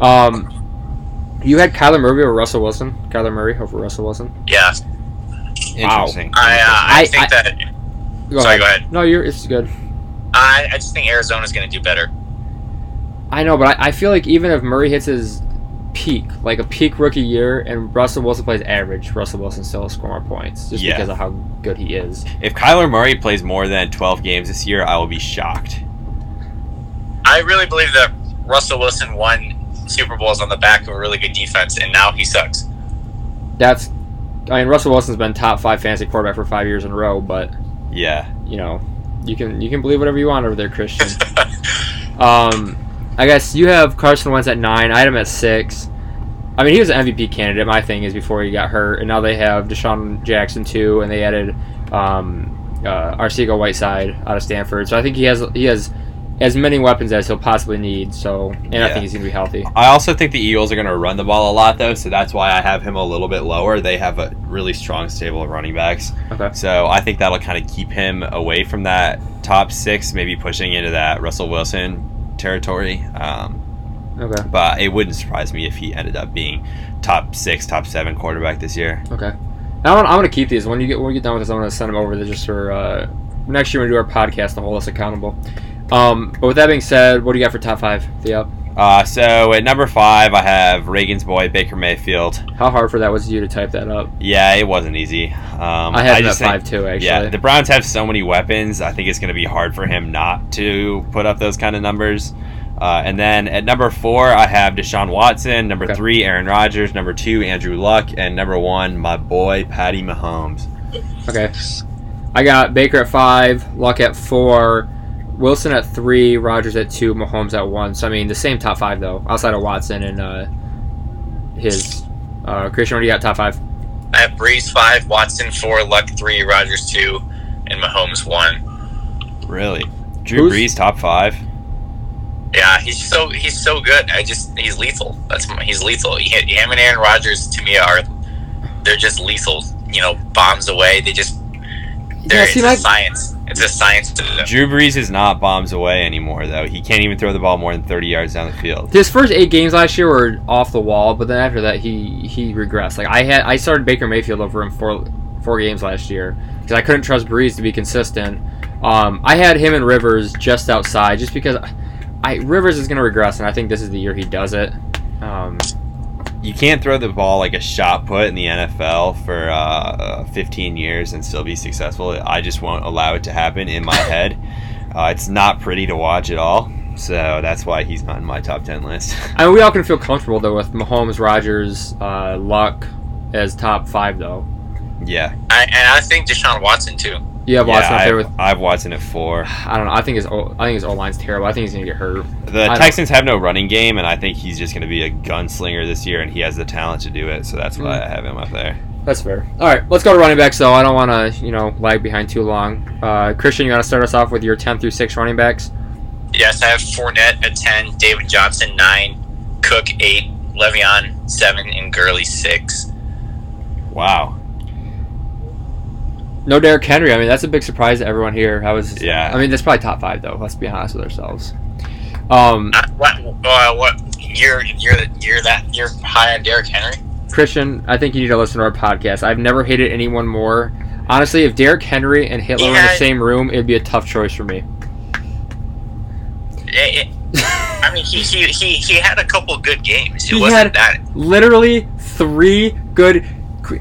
A: Um, you had Kyler Murray over Russell Wilson. Kyler Murray over Russell Wilson.
B: Yeah,
C: Interesting.
B: I uh, I,
A: I-
B: think
A: I-
B: that.
A: Go
B: sorry, go ahead.
A: No, you're. It's good.
B: I, I just think Arizona's going to do better.
A: I know, but I, I feel like even if Murray hits his peak, like a peak rookie year, and Russell Wilson plays average, Russell Wilson still will score more points just
C: Yeah.
A: because of how good he is.
C: If Kyler Murray plays more than 12 games this year, I will be shocked.
B: I really believe that Russell Wilson won Super Bowls on the back of a really good defense, and now he sucks.
A: That's. I mean, Russell Wilson's been top five fantasy quarterback for five years in a row, but
C: Yeah.
A: you know, you can you can believe whatever you want over there, Christian. um, I guess you have Carson Wentz at nine. I had him at six. I mean, he was an MVP candidate. My thing is before he got hurt, and now they have Deshaun Jackson too, and they added um, uh, Arcega Whiteside out of Stanford. So I think he has he has as many weapons as he'll possibly need. So, and I
C: Yeah.
A: think he's going to be healthy.
C: I also think the Eagles are going to run the ball a lot, though, so that's why I have him a little bit lower. They have a really strong stable of running backs,
A: Okay.
C: so I think that'll kind of keep him away from that top six, maybe pushing into that Russell Wilson territory. Um,
A: Okay.
C: but it wouldn't surprise me if he ended up being top six, top seven quarterback this year.
A: Okay. Now I'm, I'm going to keep these. When you get when we get done with this, I'm going to send them over to just for uh, next year. We do our podcast to hold us accountable. Um, but with that being said, what do you got for top five? Yep.
C: Uh, so at number five, I have Reagan's boy Baker Mayfield.
A: How hard for that was you to type that up?
C: Yeah, it wasn't easy. Um,
A: I had him at
C: just think-
A: five too, actually.
C: Yeah, the Browns have so many weapons. I think it's going to be hard for him not to put up those kind of numbers. Uh, and then at number four, I have Deshaun Watson. Number
A: Okay.
C: three, Aaron Rodgers. Number two, Andrew Luck. And number one, my boy, Patty Mahomes.
A: Okay. I got Baker at five, Luck at four, Wilson at three, Rogers at two, Mahomes at one. So I mean, the same top five though, outside of Watson and uh, his. Uh, Christian, what do you got? Top five.
B: I have Breeze five, Watson four, Luck three, Rogers two, and Mahomes one.
C: Really? Drew
A: Who's-
C: Brees, top five.
B: Yeah, he's so he's so good. I just he's lethal. That's my, he's lethal. He, him and Aaron Rodgers to me are they're just lethal. You know, bombs away. They just they're it's a science. It's a science to them.
C: Drew Brees is not bombs away anymore, though. He can't even throw the ball more than 30 yards down the field.
A: his first eight games last year were off the wall, but then after that, he he regressed. Like I had, I started Baker Mayfield over him four four games last year because I couldn't trust Breeze to be consistent. Um, I had him and Rivers just outside, just because I, I Rivers is going to regress, and I think this is the year he does it. Um,
C: You can't throw the ball like a shot put in the NFL for uh, 15 years and still be successful. I just won't allow it to happen in my head. Uh, it's not pretty to watch at all. So that's why he's not in my top 10 list.
A: I mean, we all can feel comfortable though with Mahomes, Rogers, uh, Luck as top five though.
C: yeah.
B: I, and I think Deshaun Watson too.
A: You have Watson
C: yeah,
A: up
C: I've,
A: there with.
C: I've Watson at four.
A: I don't know. I think his O- I think his O line's terrible. I think he's going to get hurt.
C: The
A: don't-
C: Texans have no running game, and I think he's just going to be a gunslinger this year, and he has the talent to do it. So that's
A: Hmm.
C: why I have him up there.
A: That's fair. All right, let's go to running backs. Though I don't want to, you know, lag behind too long. Uh, Christian, you want to start us off with your ten through six running backs?
B: Yes, I have Fournette at ten, David Johnson nine, Cook eight, Le'Veon seven, and Gurley six.
C: Wow.
A: No Derrick Henry. I mean, that's a big surprise to everyone here. I was,
C: Yeah.
A: I mean, that's probably top five though. Let's be honest with ourselves. Um,
B: Uh, what? Uh, what? You're you're you're that you're high on Derrick Henry.
A: Christian, I think you need to listen to our podcast. I've never hated anyone more. Honestly, if Derrick Henry and Hitler were in the
B: Yeah.
A: same room, it'd be a tough choice for me.
B: It, it, I mean, he, he he he had a couple good games. It
A: He had-
B: wasn't that.
A: Literally three good.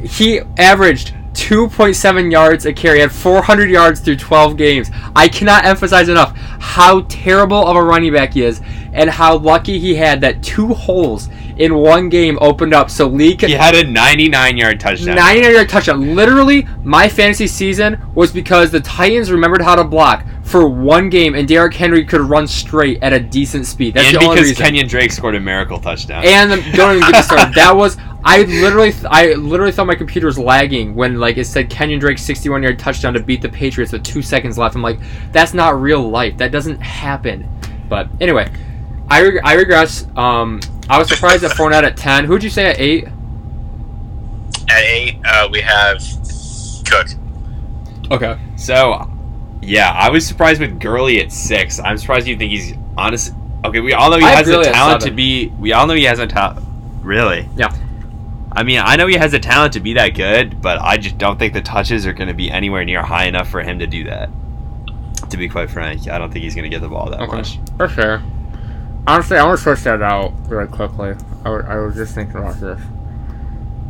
A: He averaged 2.7 yards a carry, had 400 yards through 12 games. I cannot emphasize enough how terrible of a running back he is, and how lucky he had that two holes in one game opened up so Lee could
C: He had a 99 yard touchdown.
A: 99 yard touchdown. Literally, my fantasy season was because the Titans remembered how to block for one game, and Derrick Henry could run straight at a decent speed. That's
C: and
A: the only
C: because
A: reason.
C: Kenyon Drake scored a miracle touchdown.
A: and the, don't even get me started. That was I literally I literally thought my computer was lagging when like it said Kenyon Drake 61 yard touchdown to beat the Patriots with two seconds left. I'm like, that's not real life. That doesn't happen. But anyway, I reg- I regress. Um, I was surprised at Fournette at 10. Who'd you say at eight?
B: At eight, uh, we have Cook.
A: Okay.
C: So, yeah, I was surprised with Gurley at six. I'm surprised you think he's honest. Okay, we all know he
A: I have
C: has the
A: Gurley at
C: talent to
A: seven.
C: be. We all know he has a talent. Really?
A: Yeah.
C: I mean, I know he has the talent to be that good, but I just don't think the touches are going to be anywhere near high enough for him to do that. To be quite frank, I don't think he's going to get the ball that
A: Okay.
C: much.
A: For sure. Honestly, I want to switch that out really quickly. I was, I was just thinking about this.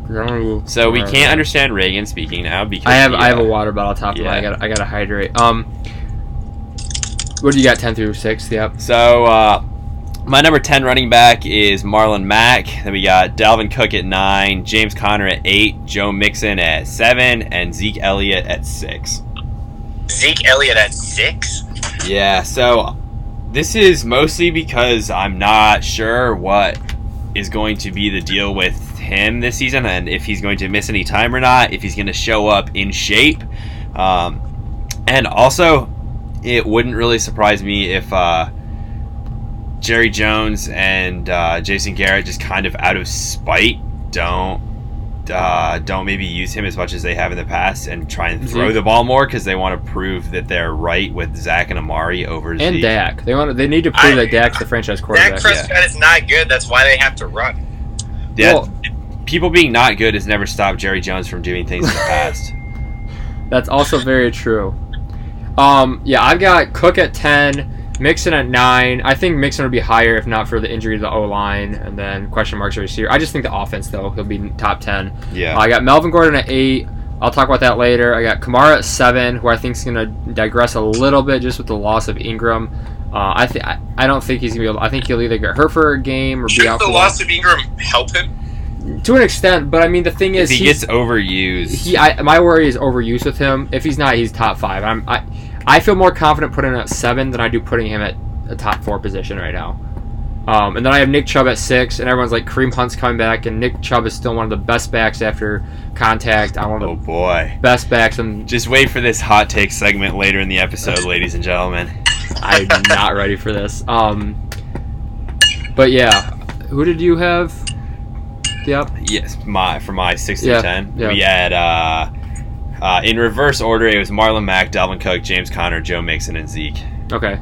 A: 'Cause I wanna move-
C: So we
A: uh,
C: can't understand Reagan speaking now because
A: I have
C: he,
A: I have a
C: uh,
A: water bottle top of my. I
C: Yeah.
A: got I got to hydrate. Um, what do you got? Ten through six. Yep.
C: So uh, my number ten running back is Marlon Mack. Then we got Dalvin Cook at nine, James Conner at eight, Joe Mixon at seven, and Zeke Elliott at six.
B: Zeke Elliott at six.
C: Yeah. So this is mostly because I'm not sure what is going to be the deal with him this season and if he's going to miss any time or not, if he's going to show up in shape. Um, and also, it wouldn't really surprise me if uh, Jerry Jones and uh, Jason Garrett just kind of out of spite don't uh, don't maybe use him as much as they have in the past and try and throw
A: Zeke.
C: the ball more because they want to prove that they're right with Zach and Amari over
A: and
C: Zeke.
A: Dak. They want to, they need to prove
B: I-
A: that Dak's the franchise
B: Dak
A: quarterback.
B: Prescott is not good. That's why they have to run.
C: Yeah,
A: Well-
C: people being not good has never stopped Jerry Jones from doing things in the past.
A: That's also very true. Um, yeah, I've got Cook at ten, Mixon at nine. I think Mixon would be higher if not for the injury to the O line and then question marks are receiver. I just think the offense though he'll be in top ten.
C: Yeah,
A: I got Melvin Gordon at eight. I'll talk about that later. I got Kamara at seven, who I think is going to digress a little bit just with the loss of Ingram. Uh, I think I I don't think he's going to be. Able- I think he'll either get hurt for a game or be
B: Should
A: out
B: the
A: for a
B: loss of Ingram help him?
A: while. to an extent. But I mean, the thing
C: if
A: is,
C: he
A: he's-
C: gets overused,
A: he I, my worry is overuse with him. If he's not, he's top five. I'm I, I feel more confident putting him at seven than I do putting him at a top four position right now. Um, and then I have Nick Chubb at six, and everyone's like Kareem Hunt's coming back, and Nick Chubb is still one of the best backs after contact. I one of
C: oh
A: the
C: boy.
A: best backs, and
C: Just wait for this hot take segment later in the episode, ladies and gentlemen.
A: I'm not ready for this. Um, but yeah, who did you have? Yep.
C: Yes, my for my six
A: Yeah,
C: to ten.
A: yeah.
C: We had uh, uh, in reverse order. It was Marlon Mack, Dalvin Cook, James Conner, Joe Mixon, and Zeke.
A: Okay.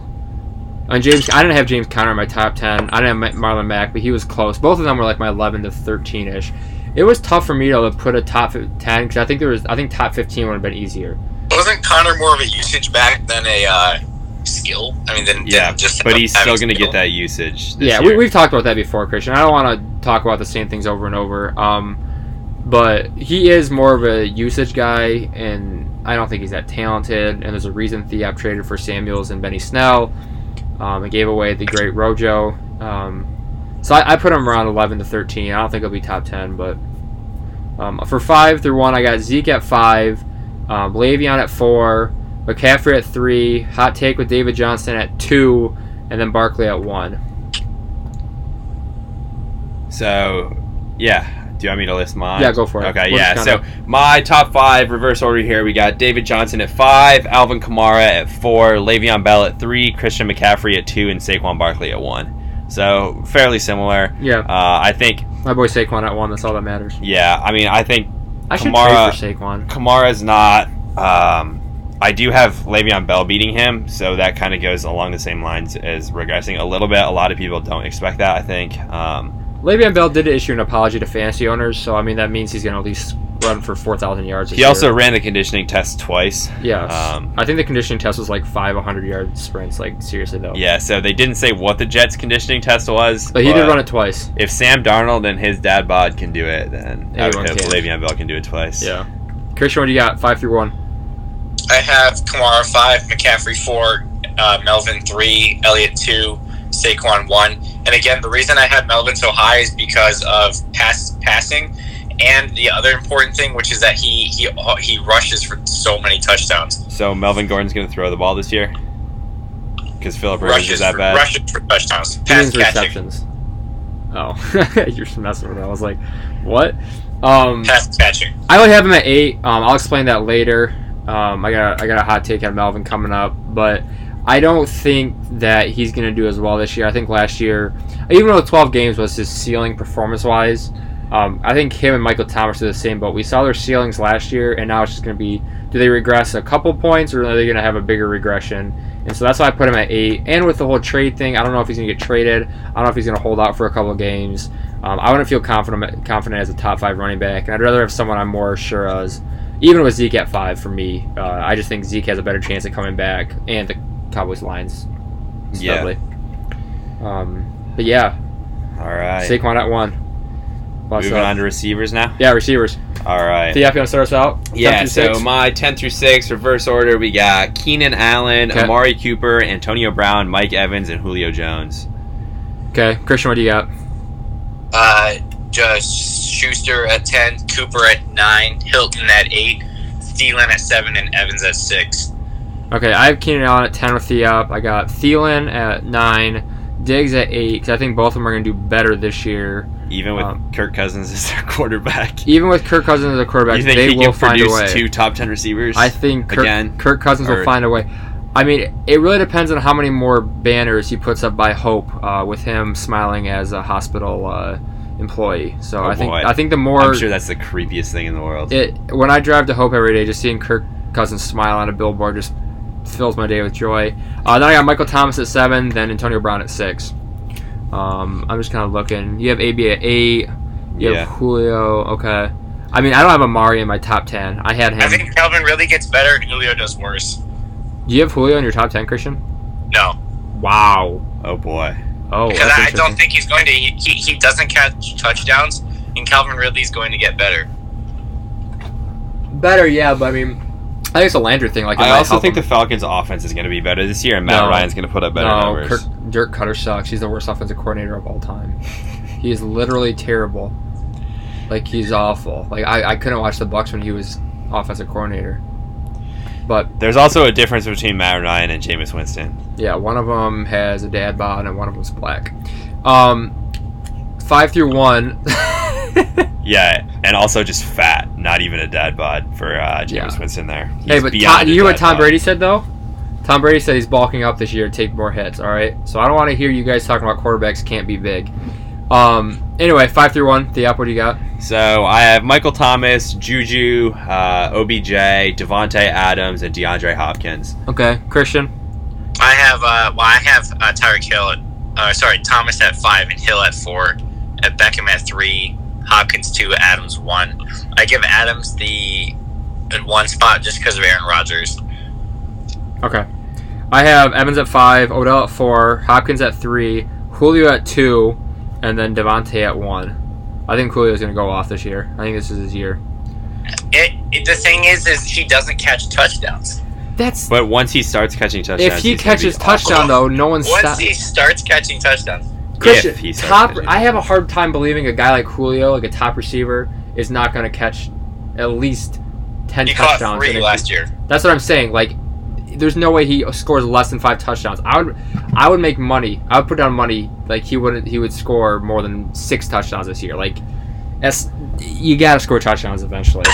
A: And James, I didn't have James Conner in my top ten. I didn't have Ma- Marlon Mack, but he was close. Both of them were like my eleven to thirteen ish. It was tough for me to put a top fi- ten because I think there was, I think top fifteen would have been easier.
B: Wasn't Connor more of a usage back than a uh, skill? I mean, than,
C: Yeah,
B: than just
C: but he's
B: having
C: still going to
B: skill?
C: get that usage. This
A: yeah,
C: year.
A: we, we've talked about that before, Christian. I don't want to talk about the same things over and over. Um, but he is more of a usage guy, and I don't think he's that talented. And there's a reason Theop traded for Samuels and Benny Snell. Um, and gave away the great Rojo. Um, so I, I put him around 11 to 13. I don't think he'll be top 10, but um, for five through one, I got Zeke at five, um, Le'Veon at four, McCaffrey at three, hot take with David Johnson at two, and then Barkley at one.
C: So, yeah. Do you want me to list mine?
A: Yeah, go for it.
C: Okay,
A: We'll
C: yeah.
A: just
C: So, my top five reverse order here we got David Johnson at five, Alvin Kamara at four, Le'Veon Bell at three, Christian McCaffrey at two, and Saquon Barkley at one. So, fairly similar.
A: Yeah,
C: Uh, I think,
A: my boy Saquon at one. That's all that matters.
C: yeah, I mean, I think
A: I should
C: Kamara-
A: trade for Saquon.
C: Kamara's not. Um, I do have Le'Veon Bell beating him, so that kind of goes along the same lines as regressing a little bit. A lot of people don't expect that, I think. Um,
A: Le'Veon Bell did issue an apology to fantasy owners, so I mean that means he's going to at least run for four thousand yards. this
C: He also
A: year.
C: ran the conditioning test twice.
A: yes.
C: um,
A: I think the conditioning test was like five 100 yard sprints. Like seriously though.
C: Yeah, so they didn't say what the Jets conditioning test was.
A: But he did
C: but
A: run it twice.
C: If Sam Darnold and his dad bod can do it, then I would
A: Anyone
C: hope
A: can.
C: Le'Veon Bell can do it twice.
A: Yeah. Christian, what do you got? Five through one.
B: I have Kamara five, McCaffrey four, uh, Melvin three, Elliott two, Saquon one. And again, the reason I have Melvin so high is because of pass passing, and the other important thing, which is that he he he rushes for so many touchdowns.
C: So Melvin Gordon's going to throw the ball this year because Philip Rivers
B: Rushes
C: is
B: for,
C: that bad.
B: rushes for touchdowns.
A: He
B: Pass
A: means
B: catching.
A: receptions. Oh, you're just messing with me. I was like, what? Um,
B: Pass catching.
A: I would have him at eight. Um, I'll explain that later. Um, I got a, I got a hot take on Melvin coming up, but I don't think that he's going to do as well this year. I think last year, even though 12 games was his ceiling performance wise, um, I think him and Michael Thomas are the same. But we saw their ceilings last year, and now it's just going to be do they regress a couple points or are they going to have a bigger regression? And so that's why I put him at eight. And with the whole trade thing, I don't know if he's going to get traded. I don't know if he's going to hold out for a couple of games. Um, I wouldn't feel confident confident as a top five running back, and I'd rather have someone I'm more sure as. Even with Zeke at five, for me, uh, I just think Zeke has a better chance of coming back, and the Cowboys lines.
C: Yeah.
A: Studley. Um, but yeah,
C: All right.
A: Saquon at one. Lots
C: Moving
A: of-
C: on to receivers now.
A: yeah, receivers.
C: All right.
A: Theop, you want to start us out?
C: Yeah,
A: Top
C: so
A: through six?
C: my 10 through 6 reverse order, we got Keenan Allen,
A: Okay.
C: Amari Cooper, Antonio Brown, Mike Evans, and Julio Jones.
A: okay, Christian, what do you got?
B: Uh, just Schuster at ten, Cooper at nine, Hilton at eight, Thielen at seven, and Evans at six.
A: Okay, I have Keenan Allen at 10 with Theop. I got Thielen at 9, Diggs at 8, because I think both of them are going to do better this year.
C: Even with
A: Um,
C: Kirk Cousins as their quarterback.
A: Even with Kirk Cousins as a quarterback,
C: you think
A: they
C: he
A: will
C: can
A: find a way.
C: produce two top ten receivers?
A: I think Kirk,
C: again?
A: Kirk Cousins
C: Or-
A: will find a way. I mean, it really depends on how many more banners he puts up by Hope uh, with him smiling as a hospital uh, employee. So
C: Oh,
A: I think
C: boy.
A: I think the more
C: I'm sure that's the creepiest thing in the world.
A: it when I drive to Hope every day, just seeing Kirk Cousins smile on a billboard just fills my day with joy. Uh, then I got Michael Thomas at seven, then Antonio Brown at six. Um, I'm just kind of looking. You have AB at eight. You
C: Yeah.
A: have Julio. Okay. I mean, I don't have Amari in my top ten. I had him.
C: Mm-hmm.
B: I think Calvin really gets better and Julio does worse.
A: Do you have Julio in your top ten, Christian?
B: No,
A: Wow.
C: Oh boy.
A: Oh,
B: because
A: that's
B: I don't
A: interesting.
B: think he's going to. He, he, he doesn't catch touchdowns, and Calvin Ridley's going to get better.
A: better. Yeah, but I mean, I think it's a Landry thing. Like, it
C: I
A: might
C: also
A: help
C: think
A: him.
C: the Falcons' offense is going to be better this year, and Matt
A: No.
C: Ryan's going to put up better
A: no,
C: numbers.
A: Kirk, Dirk Cutter sucks. He's the worst offensive coordinator of all time. He is literally terrible. Like he's awful. Like I, I couldn't watch the Bucks when he was offensive coordinator. But
C: There's also a difference between Matt Ryan and Jameis Winston.
A: yeah, one of them has a dad bod and one of them's black. Um, five through one.
C: Yeah, and also just fat, not even a dad bod for uh, Jameis
A: Yeah.
C: Winston there.
A: hey,
C: He's
A: but
C: beyond
A: Tom,
C: a
A: you hear what
C: dad
A: Tom
C: bod.
A: Brady said though? Tom Brady said he's bulking up this year to take more hits. All right, so I don't want to hear you guys talking about quarterbacks can't be big. Um, anyway, five through one. The app. What do you got?
C: So I have Michael Thomas, Juju, uh, OBJ, Devontae Adams, and DeAndre Hopkins.
A: Okay, Christian.
B: I have uh, well, I have uh, Tyreek Hill. At, uh, sorry, Thomas at five and Hill at four, at Beckham at three, Hopkins two, Adams one. I give Adams the at one spot just because of Aaron Rodgers.
A: Okay. I have Evans at five, Odell at four, Hopkins at three, Julio at two, and then Devontae at one. I think Julio's going to go off this year. I think this is his year.
B: It, it the thing is, is he doesn't catch touchdowns.
A: That's
C: But once he starts catching touchdowns,
A: if he
C: he's gonna be
A: catches
C: awful.
A: touchdown though, no one
B: Once
A: stops.
B: he starts catching touchdowns,
A: Christian,
C: if he starts
A: top.
C: catching.
A: I have a hard time believing a guy like Julio, like a top receiver, is not going to catch at least ten
B: he caught
A: touchdowns. in
B: three
A: a-
B: last year.
A: That's what I'm saying. Like, there's no way he scores less than five touchdowns. I would, I would make money. I would put down money. Like he would, he would score more than six touchdowns this year. Like, that's you gotta score touchdowns eventually.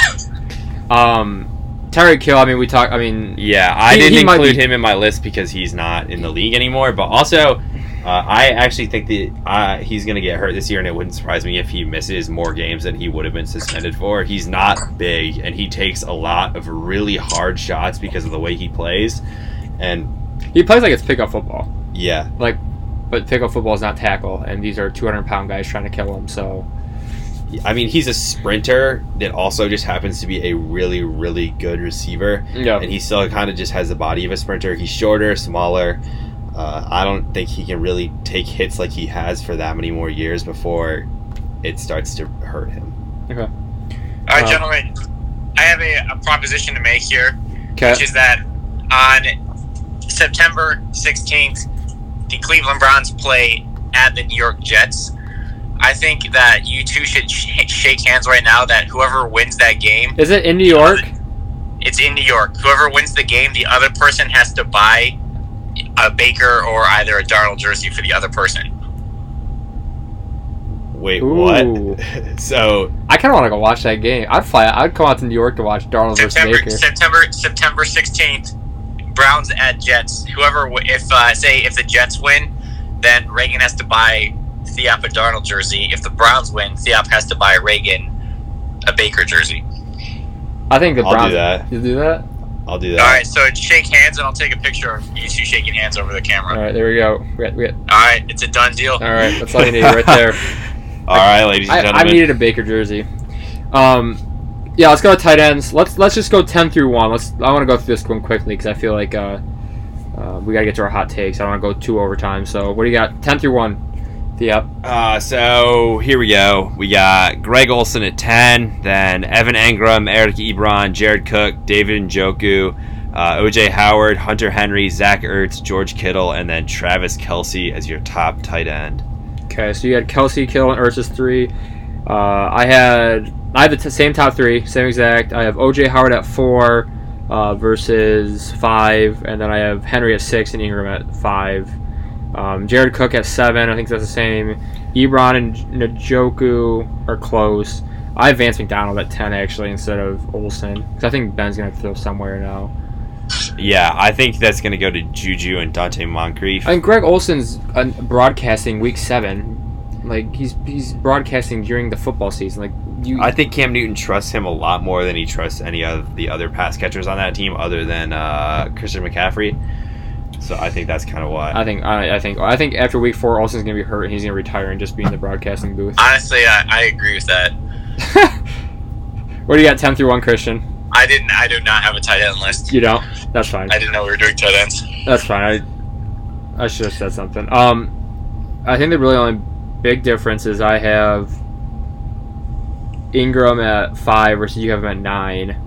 A: um, Tyreek Kill. I mean, we talk. I mean,
C: Yeah, I
A: He-
C: didn't
A: he might
C: include
A: be-
C: him in my list because he's not in the league anymore. But also, uh, I actually think that uh, he's going to get hurt this year, and it wouldn't surprise me if he misses more games than he would have been suspended for. He's not big, and he takes a lot of really hard shots because of the way he plays. And
A: he plays like it's pickup football.
C: yeah,
A: Like, but pickup football is not tackle, and these are 200 pound guys trying to kill him. So
C: I mean, he's a sprinter that also just happens to be a really, really good receiver.
A: yeah,
C: and he still kind of just has the body of a sprinter. He's shorter, smaller. Uh, I don't think he can really take hits like he has for that many more years before it starts to hurt him.
B: All right,
A: Um,
B: gentlemen, I have a, a proposition to make here.
A: okay.
B: which is that on September 16th, the Cleveland Browns play at the New York Jets. I think that you two should sh- shake hands right now that whoever wins that game,
A: Is it in New York?
B: it's in New York. Whoever wins the game, the other person has to buy a Baker or either a Darnold jersey for the other person.
C: Wait,
A: Ooh.
C: what? so
A: I kind of want to go watch that game. I'd fly. I'd come out to New York to watch Darnold versus
B: September
A: Baker.
B: September September 16th, Browns at Jets. Whoever w- if uh, say if the Jets win, then Reagan has to buy Theop a Darnold jersey. If the Browns win, Theop has to buy Reagan a Baker jersey.
A: I think the
C: I'll do
A: Browns.
C: that.
A: You do that.
C: I'll do
B: All
C: that.
B: right, so shake hands and I'll take a picture of you two shaking hands over the camera.
A: All right, there we go. We got, we got,
B: All right, it's a done deal.
A: all right, that's all you need right there.
C: All right, ladies and
A: I, I
C: gentlemen.
A: needed a Baker jersey. Um, yeah, let's go to tight ends. Let's let's just go ten through one. Let's. I want to go through this one quickly because I feel like uh, uh, we gotta get to our hot takes. I don't want to go two overtime. So what do you got? Ten through one. Yep.
C: Uh, so here we go. We got Greg Olson at 10, then Evan Engram, Eric Ebron, Jared Cook, David Njoku, uh, OJ Howard, Hunter Henry, Zach Ertz, George Kittle, and then Travis Kelsey as your top tight end.
A: Okay, so you had Kelsey, Kill, and Ursus three. Uh, I had I had the t- same top three, same exact. I have OJ Howard at four uh, versus five, and then I have Henry at six and Ingram at five. Um, Jared Cook at seven. I think that's the same. Ebron and Njoku are close. I have Vance McDonald at ten actually instead of Olsen because I think Ben's gonna throw somewhere now.
C: yeah, I think that's going to go to Juju and Dante Moncrief.
A: And Greg Olson's uh, broadcasting week seven, like he's he's broadcasting during the football season. Like you,
C: I think Cam Newton trusts him a lot more than he trusts any of the other pass catchers on that team, other than uh, Christian McCaffrey. So I think that's kind of why.
A: I think I, I think I think after week four, Olson's gonna be hurt and he's gonna retire and just be in the broadcasting booth.
B: Honestly, I, I agree with that.
A: what do you got? Ten through one, Christian.
B: I didn't. I do not have a tight end list.
A: You don't. That's fine.
B: I didn't know we were doing tight ends.
A: That's fine. I I should have said something. Um, I think the really only big difference is I have Ingram at five versus you have him at nine.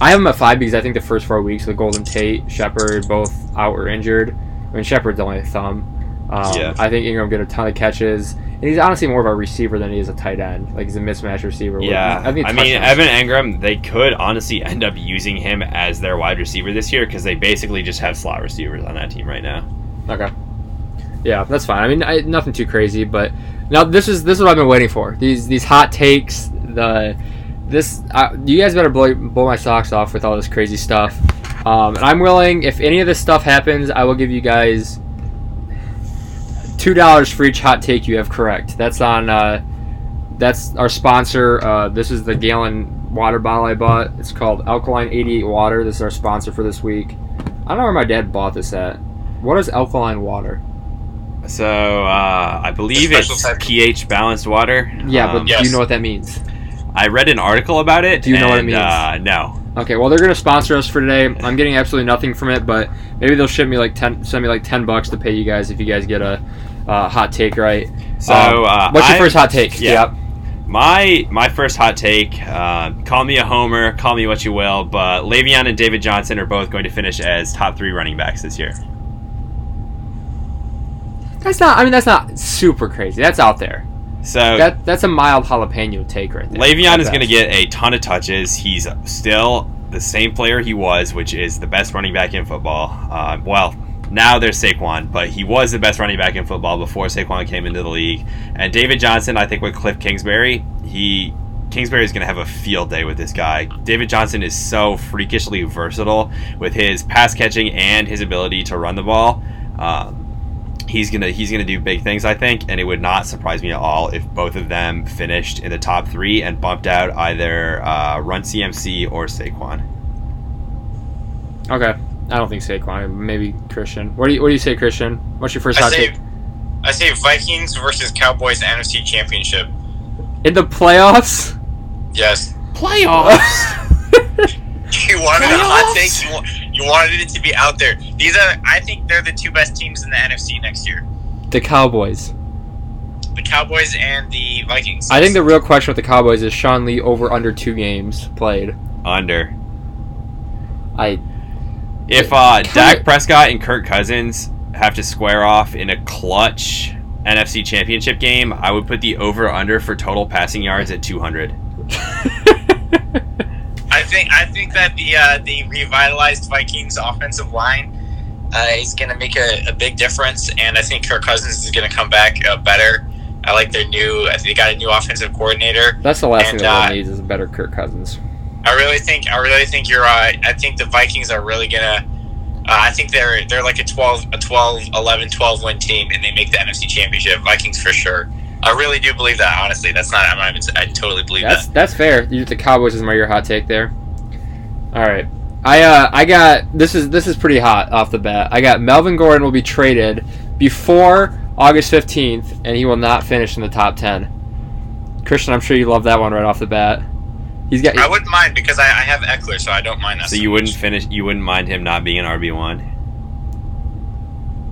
A: I have him at five because I think the first four weeks with Golden Tate, Shepard, both out or injured. I mean, Shepard's only a thumb. Um,
C: Yeah.
A: I think Ingram get a ton of catches, and he's honestly more of a receiver than he is a tight end. Like he's a mismatch receiver. with-
C: Yeah, I,
A: think
C: mean
A: touchdowns.
C: Evan Engram. They could honestly end up using him as their wide receiver this year because they basically just have slot receivers on that team right now.
A: Okay. Yeah, that's fine. I mean, I, nothing too crazy, but now this is this is what I've been waiting for. These these hot takes. The this I, you guys better blow, blow my socks off with all this crazy stuff. Um, and I'm willing. If any of this stuff happens, I will give you guys two dollars for each hot take you have correct. That's on. Uh, that's our sponsor. Uh, this is the gallon water bottle I bought. It's called Alkaline 88 Water. This is our sponsor for this week. I don't know where my dad bought this at. What is alkaline water?
C: So uh, I believe
B: It's a special
C: it's
B: type of-
C: pH balanced water.
A: Yeah,
C: Um,
A: but do
B: yes.
A: you know what that means?
C: I read an article about it.
A: Do you know what it
C: and,
A: means?
C: Uh, no.
A: Okay, well they're gonna sponsor us for today. I'm getting absolutely nothing from it, but maybe they'll ship me like ten, send me like ten bucks to pay you guys if you guys get a uh, hot take right.
C: So
A: Um,
C: uh,
A: what's your
C: I-
A: first hot take?
C: yeah. My my first hot take. Uh, call me a homer. Call me what you will, but Le'Veon and David Johnson are both going to finish as top three running backs this year.
A: that's not. I mean, that's not super crazy. That's out there.
C: So
A: That that's a mild jalapeno take right there.
C: Le'Veon is
A: At
C: going to
A: best.
C: get a ton of touches. He's still the same player he was, which is the best running back in football. Uh, well, now there's Saquon, but he was the best running back in football before Saquon came into the league. And David Johnson, I think with Cliff Kingsbury, he Kingsbury is going to have a field day with this guy. David Johnson is so freakishly versatile with his pass catching and his ability to run the ball. Um, he's gonna he's gonna do big things, I think, and it would not surprise me at all if both of them finished in the top three and bumped out either uh, Run CMC or Saquon.
A: okay. I don't think Saquon. Maybe Christian. What do you What do you say, Christian? What's your first
B: I
A: hot
B: say,
A: take
B: I say Vikings versus Cowboys NFC Championship.
A: in the playoffs?
B: Yes.
A: Playoffs.
B: You wanted a hot
A: Playoffs?
B: take. You, wa- you wanted it to be out there. These are. I think they're the two best teams in the NFC next year.
A: the Cowboys.
B: The Cowboys and the Vikings.
A: I think the real question with the Cowboys is Sean Lee over under two games played.
C: Under.
A: I
C: If uh,
A: Kinda-
C: Dak Prescott and Kirk Cousins have to square off in a clutch NFC Championship game, I would put the over under for total passing yards at 200.
B: I think. I think that the uh, the revitalized Vikings offensive line uh, is going to make a, a big difference, and I think Kirk Cousins is going to come back uh, better. I like their new. I think they got a new offensive coordinator.
A: that's the last
B: And,
A: thing that
B: uh,
A: world needs is a better Kirk Cousins.
B: I really think I really think you're right. I think the Vikings are really gonna. Uh, I think they're they're like a 12, a 12, 11, 12 win team, and they make the NFC Championship. Vikings for sure. I really do believe that. Honestly, that's not. I'm not even. I totally believe
A: That's
B: that.
A: that's fair. You, the Cowboys is my your hot take there. All right, I uh I got this is this is pretty hot off the bat. I got Melvin Gordon will be traded before August fifteenth, and he will not finish in the top ten. Christian, I'm sure you love that one right off the bat. He's got
B: I wouldn't mind because I, I have Eckler, so I don't mind that.
C: So you
B: much.
C: wouldn't finish. You wouldn't mind him not being an RB one.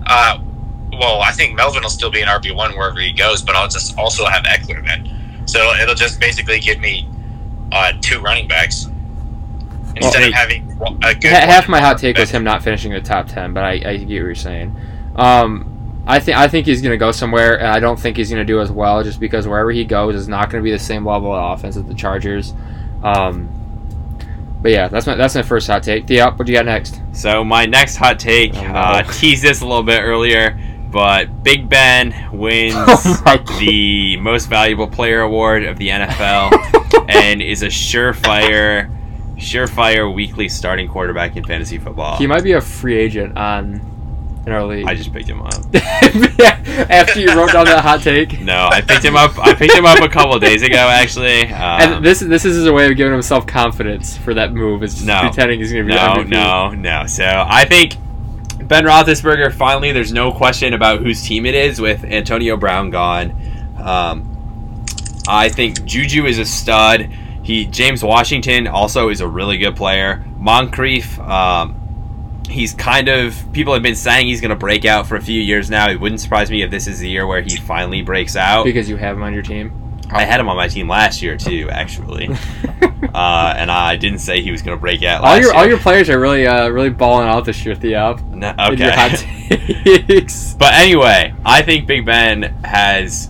B: Uh, well, I think Melvin will still be an RB one wherever he goes, but I'll just also have Eckler then. So it'll just basically give me uh, two running backs instead
C: Well,
B: of having a good.
A: Ha- half
B: one.
A: my hot take was him not finishing the top ten, but I, I get what you're saying. Um, I think I think he's going to go somewhere, and I don't think he's going to do as well just because wherever he goes is not going to be the same level of offense as the Chargers. Um, but yeah, that's my that's my first hot take. Theo, what do you got next?
C: So my next hot take
A: Oh, no.
C: uh, teased this a little bit earlier, but Big Ben wins
A: Oh my God.
C: the Most Valuable Player award of the NFL and is a surefire surefire weekly starting quarterback in fantasy football.
A: He might be a free agent on in our league.
C: I just picked him up.
A: After you wrote down that hot take.
C: No, I picked him up. I picked him up a couple days ago, actually. Um,
A: and this this is his way of giving himself confidence for that move. Is just
C: No.
A: pretending he's going to be
C: no,
A: MVP.
C: no, no. So I think Ben Roethlisberger. Finally, there's no question about whose team it is with Antonio Brown gone. Um, I think Juju is a stud. He James Washington also is a really good player. Moncrief. Um, He's kind of people have been saying he's going to break out for a few years now. It wouldn't surprise me if this is the year where he finally breaks out.
A: because you have him on your team.
C: I had him on my team last year too, actually, uh, and I didn't say he was going to break out.
A: all
C: Last
A: your
C: year.
A: all your players are really uh, really balling out this year, Theo.
C: No,
A: with your hot
C: okay.
A: takes.
C: But anyway, I think Big Ben has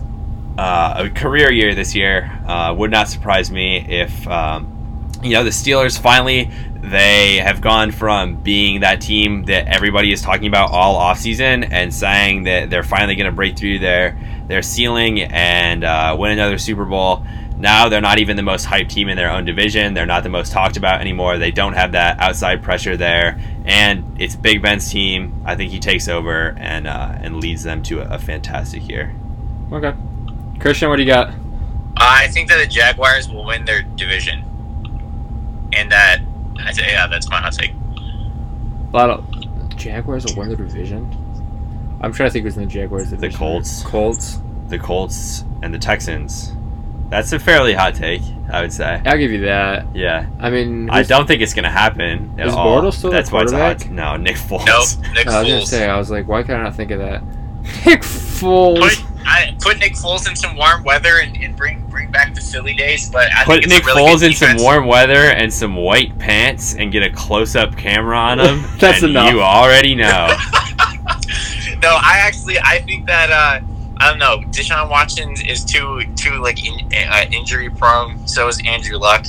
C: uh, a career year this year. Uh, would not surprise me if um, you know the Steelers finally they have gone from being that team that everybody is talking about all offseason and saying that they're finally going to break through their their ceiling and uh, win another Super Bowl. Now they're not even the most hyped team in their own division. They're not the most talked about anymore. They don't have that outside pressure there, and it's Big Ben's team. I think he takes over and uh, and leads them to a, a fantastic year.
A: Okay, Christian, what do you got?
B: I think that the Jaguars will win their division, and that I say, yeah, that's my hot take.
A: A lot of Jaguars will win the division. I'm trying to think who's in the Jaguars division.
C: Colts.
A: Colts.
C: The Colts and the Texans. That's a fairly hot take, I would say.
A: I'll give you that.
C: Yeah,
A: I mean,
C: I
A: who's-
C: don't think it's gonna happen at
A: Is
C: all.
A: Bortles still the
C: That's why it's a hot.
A: quarterback?
C: No, Nick
B: No,
C: Foles.
B: Nick
A: I was gonna
B: Foles.
A: say. I was like, why can I not think of that? Nick Foles.
B: Put I, put Nick Foles in some warm weather and, and bring bring back the Philly days. But I think
C: Put
B: it's a
C: Nick
B: really
C: Foles
B: good
C: in some
B: defense.
C: warm weather and some white pants and get a close up camera on him.
A: That's
C: and
A: enough.
C: You already know.
B: No, I actually I think that uh, I don't know. Deshaun Watson is too too like in, uh, injury prone. So is Andrew Luck,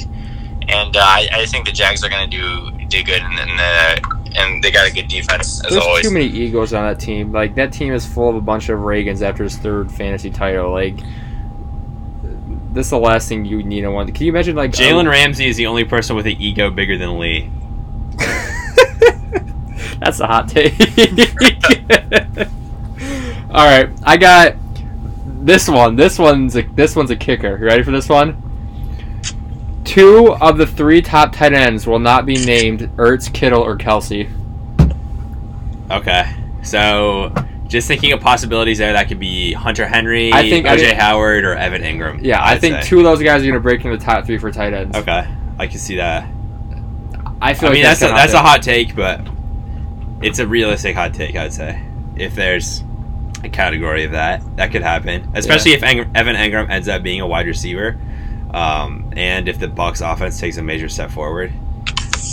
B: and uh, I, I think the Jags are going to do do good, and and, uh, and they got a good defense as
A: There's
B: always.
A: too many egos on that team. Like that team is full of a bunch of Reagans after his third fantasy title. Like this is the last thing you need to want. Can you imagine like um,
C: Jalen Ramsey is the only person with an ego bigger than Lee.
A: That's a hot take. All right, I got this one. This one's a this one's a kicker. You ready for this one? Two of the three top tight ends will not be named Ertz, Kittle, or Kelsey.
C: Okay. So just thinking of possibilities there, that could be Hunter Henry,
A: I think- I
C: OJ
A: think-
C: Howard, or Evan Ingram.
A: Yeah, I
C: I'd
A: think
C: say.
A: two of those guys are going to break into the top three for tight ends.
C: Okay, I can see that.
A: I feel
C: I mean,
A: like
C: that's a, that's
A: kinda
C: a hot take, but it's a realistic hot take, I'd say. If there's a category of that, that could happen, especially if Eng- Evan Engram ends up being a wide receiver, um, and if the Bucks offense takes a major step forward.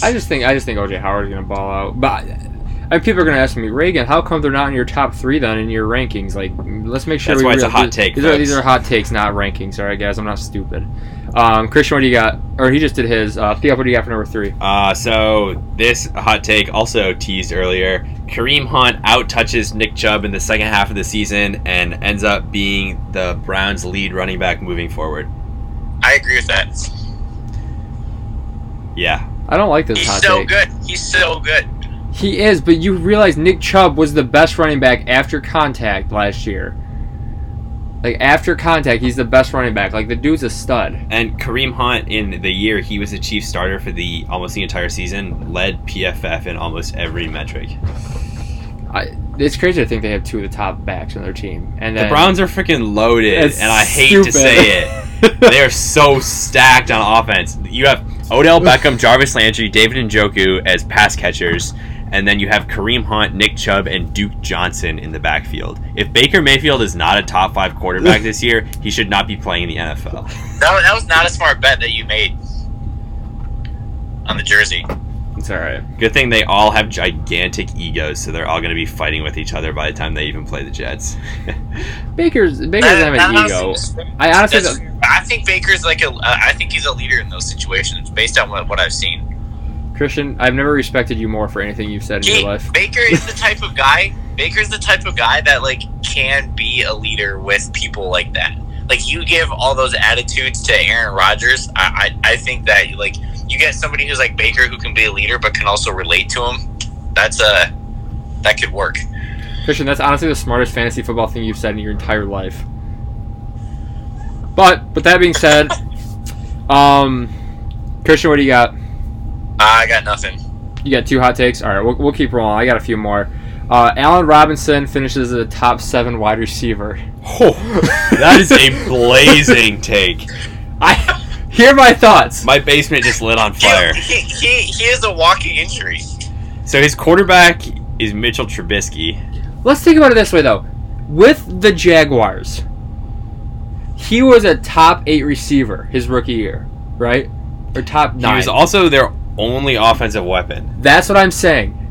A: I just think I just think OJ Howard's gonna ball out. But I mean, people are gonna ask me, Reagan, how come they're not in your top three then in your rankings? Like, let's make sure.
C: That's
A: we
C: why it's a
A: real-
C: hot take,
A: These are, these
C: folks.
A: are hot takes, not rankings. All right, guys, I'm not stupid. Um, Christian, what do you got? Or he just did his. Uh, Theo, what do you got for number three?
C: Uh, so this hot take also teased earlier. Kareem Hunt out touches Nick Chubb in the second half of the season and ends up being the Browns' lead running back moving forward.
B: I agree with that. He's
C: Yeah,
A: I don't like this hot
B: so
A: take.
B: good. He's so good.
A: He is, but you realize Nick Chubb was the best running back after contact last year. Like after contact, he's the best running back. Like the dude's a stud.
C: and Kareem Hunt in the year he was the chief starter for the almost the entire season led PFF in almost every metric.
A: I, it's crazy to think they have two of the top backs on their team. And
C: The
A: then,
C: Browns are freaking loaded,
A: That's
C: and I hate
A: stupid.
C: to say it. They are so stacked on offense. You have Odell Beckham, Jarvis Landry, David Njoku as pass catchers, and then you have Kareem Hunt, Nick Chubb, and Duke Johnson in the backfield. If Baker Mayfield is not a top five quarterback this year, he should not be playing in the NFL.
B: That, was- that was not a smart bet that you made on the jersey.
A: It's all right.
C: Good thing they all have gigantic egos, so they're all going to be fighting with each other by the time they even play the Jets.
A: Baker's Baker doesn't
B: That-
A: have
B: that
A: an ego.
B: honestly-
A: I honestly,
B: That's-
A: don't-
B: I think Baker's like a. I think he's a leader in those situations based on what, what I've seen.
A: Christian, I've never respected you more for anything you've said in
B: He,
A: your life.
B: Baker is the type of guy. Baker's the type of guy that like can be a leader with people like that. Like you give all those attitudes to Aaron Rodgers. I I, I think that like you get somebody who's like Baker who can be a leader but can also relate to him. That's a that could work.
A: Christian, that's honestly the smartest fantasy football thing you've said in your entire life. But with that being said, um, Christian, what do you got?
B: I got nothing.
A: You got two hot takes. All right, we'll, we'll keep rolling. I got a few more. Uh, Allen Robinson finishes as a top seven wide receiver.
C: Oh, that is a blazing take.
A: I hear my thoughts.
C: My basement just lit on fire.
B: He, he, he is a walking injury.
C: So his quarterback is Mitchell Trubisky.
A: Let's think about it this way though. With the Jaguars, he was a top eight receiver his rookie year, right? Or top
C: He
A: nine.
C: was also their only offensive weapon.
A: That's what I'm saying.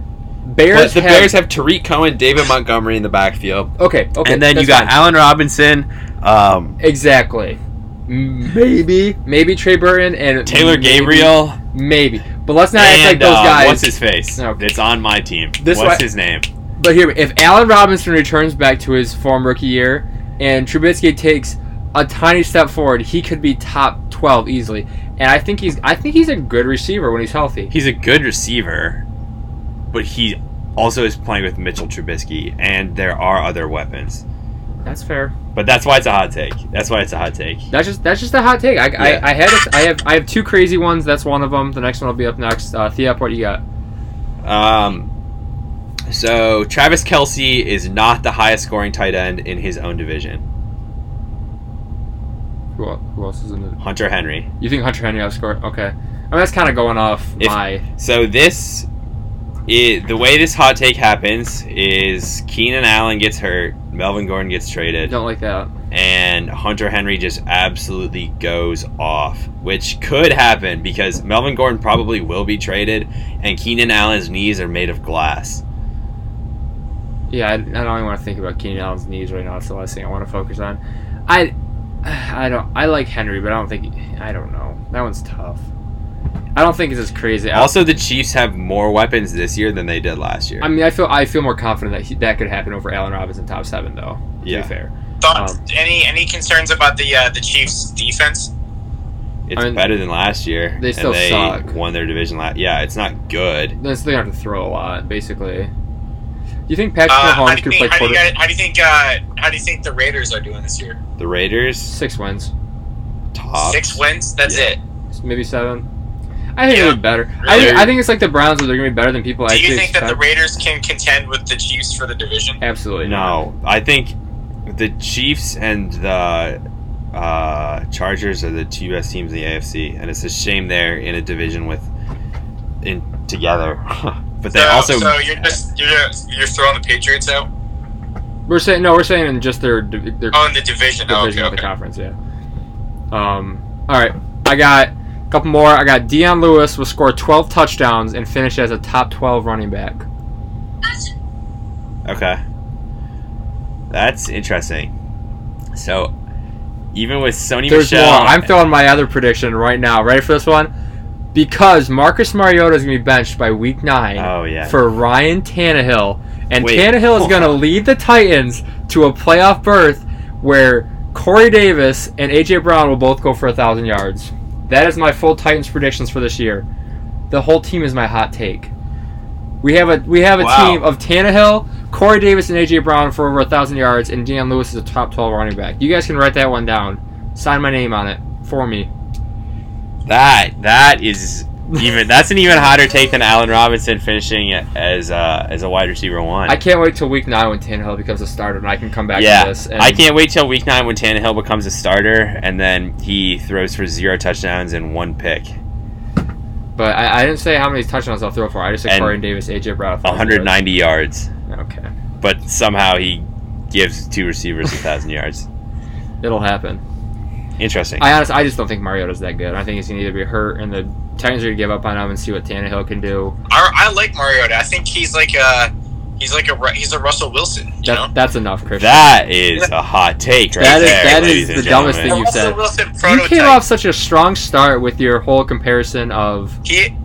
C: But
A: Bears.
C: the
A: have-
C: Bears have Tariq Cohen, David Montgomery in the backfield,
A: Okay. Okay.
C: and then you
A: that's
C: got
A: fine.
C: Allen Robinson, um,
A: Exactly. Maybe, maybe Trey Burton and
C: Taylor
A: maybe-
C: Gabriel,
A: Maybe, but let's not act like
C: and
A: those
C: uh,
A: guys.
C: what's his face?
A: No.
C: That's on my team.
A: This
C: what's
A: way-
C: his name?
A: But here, if Allen Robinson returns back to his form rookie year and Trubisky takes a tiny step forward, he could be top twelve easily. And I think he's I think he's a good receiver when he's healthy.
C: He's a good receiver, but he also is playing with Mitchell Trubisky, and there are other weapons.
A: That's fair.
C: But that's why it's a hot take. That's why it's a hot take.
A: That's just that's just a hot take. I,
C: Yeah.
A: I, I had a, I have I have two crazy ones. That's one of them. The next one will be up next. Uh, Theop, what do you got?
C: Um, so Travis Kelsey is not the highest scoring tight end in his own division.
A: Who, el- who else is in it?
C: Hunter Henry.
A: You think Hunter Henry outscored? Okay, I mean that's kind of going off
C: If-
A: my.
C: So this, i the way this hot take happens is Keenan Allen gets hurt, Melvin Gordon gets traded,
A: Don't like that.
C: and Hunter Henry just absolutely goes off, which could happen because Melvin Gordon probably will be traded, and Keenan Allen's knees are made of glass.
A: Yeah, I, I don't even want to think about Keenan Allen's knees right now. That's the last thing I want to focus on. I, I don't. I like Henry, but I don't think. I don't know. That one's tough. I don't think it's as crazy. I-
C: Also, the Chiefs have more weapons this year than they did last year.
A: I mean, I feel I feel more confident that he, that could happen over Allen Robinson top seven though. To
C: Yeah.
A: be fair,
B: Thoughts?
A: Um,
B: any any concerns about the uh, the Chiefs defense?
C: It's
A: I mean,
C: better than last year.
A: they
C: and
A: still
C: they
A: suck.
C: Won their division last. Yeah, it's not good.
A: then so they have to throw a lot basically. Do you think Patrick
B: Uh, how
A: Mahomes
B: do you
A: could
B: think?
A: play
B: How do you,
A: quarter
B: guys, how do you think? Uh, how do you think the Raiders are doing this year?
C: The Raiders
A: six wins,
C: top
B: Six wins. That's
C: Yeah.
B: it.
A: maybe seven? I think
B: Yeah.
A: it'll be better. I think, I think it's like the Browns where they're gonna be better than people
B: Do
A: actually
B: you think that
A: expect.
B: the Raiders can contend with the Chiefs for the division?
A: Absolutely not.
C: No, I think the Chiefs and the uh, Chargers are the two best teams in the AFC, and it's a shame they're in a division with in together. but they
B: so,
C: also
B: so you're just you're just- you're throwing the Patriots out
A: We're saying no. We're saying in just their div- their
B: on the division. Oh,
A: division
B: okay,
A: of the
B: okay.
A: conference. Yeah. Um. All right. I got a couple more. I got Deion Lewis will score 12 touchdowns and finish as a top 12 running back.
C: okay. That's interesting. So even with Sony
A: There's
C: Michelle,
A: more. I'm throwing my other prediction right now. Ready for this one? Because Marcus Mariota is going to be benched by week nine
C: Oh, yeah.
A: for Ryan Tannehill, and
C: Wait.
A: Tannehill is going to lead the Titans to a playoff berth where Corey Davis and AJ Brown will both go for a thousand yards. That is my full Titans predictions for this year. The whole team is my hot take. We have a we have a
C: Wow.
A: team of Tannehill, Corey Davis, and AJ Brown for over a thousand yards, and Deion Lewis is a top twelve running back. You guys can write that one down. Sign my name on it for me.
C: that that is even that's an even hotter take than Allen Robinson finishing as uh, as a wide receiver one.
A: I can't wait till week nine when Tannehill becomes a starter, and I can come back
C: yeah,
A: to this. And
C: I can't wait till week nine when Tannehill becomes a starter and then he throws for zero touchdowns and one pick,
A: But I, I didn't say how many touchdowns I'll throw for. I just said
C: And
A: Corey Davis, AJ Brown, 109.
C: 190 yards,
A: Okay,
C: but somehow he gives two receivers a thousand yards.
A: it'll happen.
C: Interesting.
A: I honestly, I just don't think Mariota's that good. I think he's gonna either be hurt, and the Titans are gonna give up on him and see what Tannehill can do.
B: I, I like Mariota. I think he's like a he's like a Ru- he's a Russell Wilson. You
A: That,
B: know,
A: That's enough, Christian.
C: that is a hot take right
A: That is-
C: there.
A: that is
C: ladies and
A: the dumbest
C: gentlemen.
A: thing you
B: Russell
A: said.
B: Wilson
A: you
B: prototype.
A: came off such a strong start with your whole comparison of
B: He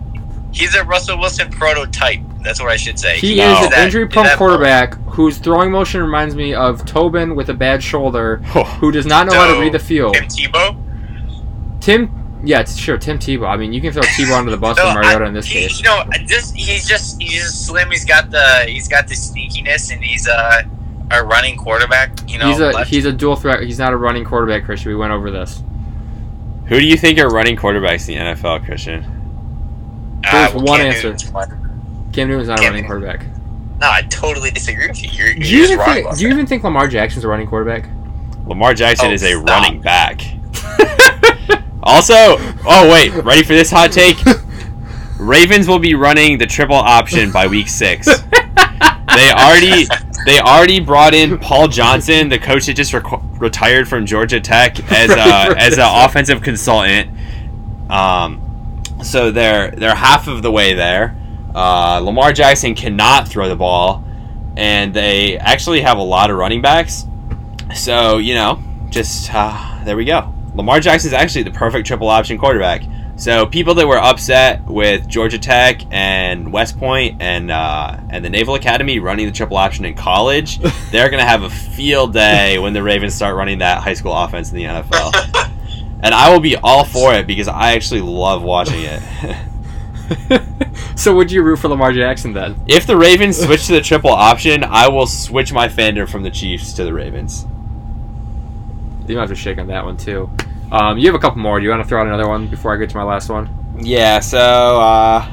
B: he's a Russell Wilson prototype. That's what I should say.
A: he
C: No.
A: is an
B: that-
A: injury
B: is
A: prone
B: that-
A: quarterback whose throwing motion reminds me of Tobin with a bad shoulder
C: Oh,
A: who does not know how to
B: So,
A: read the field.
B: Tim Tebow.
A: Tim yeah, it's- sure, Tim Tebow. I mean, you can throw Tebow under the bus
B: No,
A: with Mariota
B: I-
A: in this
B: he,
A: case.
B: You know, just he's just he's just slim. He's got the he's got the sneakiness, and he's a a running quarterback. You know,
A: he's a
B: left-
A: he's a dual threat. He's not a running quarterback, Christian. We went over this.
C: Who do you think are running quarterbacks in the NFL, Christian?
A: there's
B: well,
A: one
B: Cam
A: answer.
B: Newton's one.
A: Cam Newton's not a
B: Cam
A: running
B: Newton.
A: quarterback.
B: No, I totally disagree with you. You're,
A: Do
B: you're
A: you,
B: just
A: even
B: wrong.
A: think,
B: about
A: do you
B: that.
A: even think Lamar Jackson's a running quarterback?
C: Lamar Jackson
B: Oh,
C: is a
B: stop.
C: running back. also, oh wait, ready for this hot take? Ravens will be running the triple option by week six. they already they already brought in Paul Johnson, the coach that just requ retired from Georgia Tech as a, as an offensive consultant. Um, so they're they're half of the way there. Uh, Lamar Jackson cannot throw the ball, and they actually have a lot of running backs. So you know, just uh, there we go. Lamar Jackson's actually the perfect triple option quarterback. So people that were upset with Georgia Tech and West Point and uh, and the Naval Academy running the triple option in college, they're gonna have a field day when the Ravens start running that high school offense in the NFL. and I will be all for it because I actually love watching it.
A: so would you root for Lamar Jackson then?
C: if the Ravens switch to the triple option, I will switch my fandom from the Chiefs to the Ravens.
A: You might have to shake on that one too. Um, you have a couple more. Do you want to throw out another one before I get to my last one?
C: Yeah, so uh,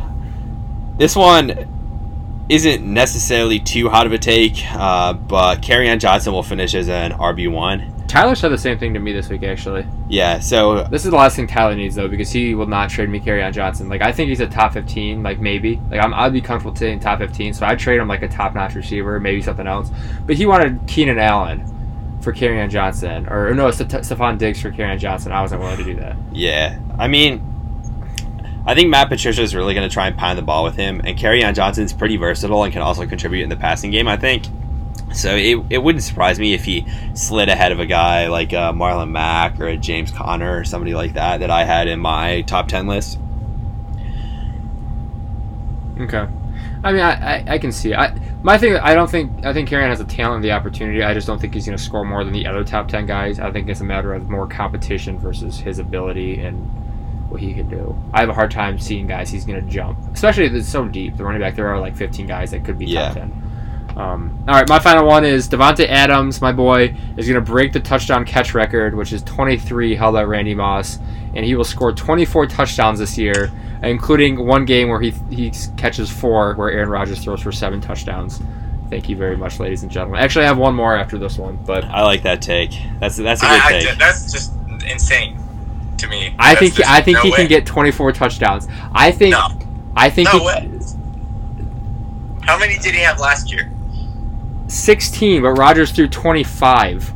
C: this one isn't necessarily too hot of a take, uh, but Carryon Johnson will finish as an RB one.
A: Tyler said the same thing to me this week actually.
C: Yeah, so
A: This is the last thing Tyler needs though, because he will not trade me on Johnson. Like I think he's a top fifteen, like maybe. Like I'm, I'd be comfortable saying top fifteen, so I'd trade him like a top notch receiver, maybe something else. But he wanted Keenan Allen for on Johnson, or, or no, Ste- Stephon Diggs for on Johnson. I wasn't willing to do that.
C: yeah, I mean, I think Matt Patricia is really going to try and pound the ball with him, and Carryon Johnson's pretty versatile and can also contribute in the passing game. I think. So it, it wouldn't surprise me if he slid ahead of a guy like uh, Marlon Mack or a James Conner or somebody like that that I had in my top ten list.
A: Okay. I mean, I, I, I can see. it. I my thing. I don't think. I think Carrion has the talent, and the opportunity. I just don't think he's going to score more than the other top ten guys. I think it's a matter of more competition versus his ability and what he can do. I have a hard time seeing guys he's going to jump, especially if it's so deep. The running back there are like fifteen guys that could be
C: Yeah.
A: top ten. Um, all right, my final one is Devonte Adams, my boy, is going to break the touchdown catch record, which is 23 held by Randy Moss, and he will score 24 touchdowns this year including one game where he he catches four, where Aaron Rodgers throws for seven touchdowns. Thank you very much, ladies and gentlemen. Actually, I have one more after this one, but
C: I like that take. That's that's a good
B: Ah, I, I-
C: take.
B: that's just insane to me.
A: I
B: That's
A: think he,
B: just
A: I think
B: no
A: he
B: way.
A: can get 24 touchdowns. I think
B: No,
A: I think
B: no
A: he-
B: way. How many did he have last year?
A: 16, but Rodgers threw 25.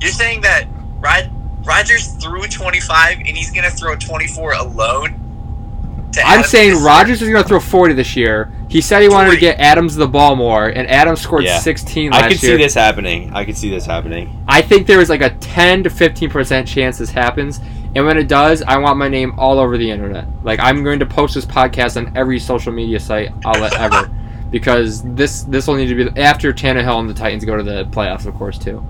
B: You're saying that Rod- Rodgers threw 25 and he's going to throw 24 alone? To
A: I'm
B: Adams this
A: saying
B: year?
A: Rodgers is going to throw 40 this year. He said he wanted to
B: 40.
A: get Adams the ball more, and Adams scored
C: Yeah.
A: 16 last
C: I could
A: year.
C: see this happening. I could see this happening.
A: I think there is like a 10 to 15% chance this happens. And when it does, I want my name all over the internet. Like I'm going to post this podcast on every social media site I'll let ever. Because this this will need to be after Tannehill and the Titans go to the playoffs, of course, too.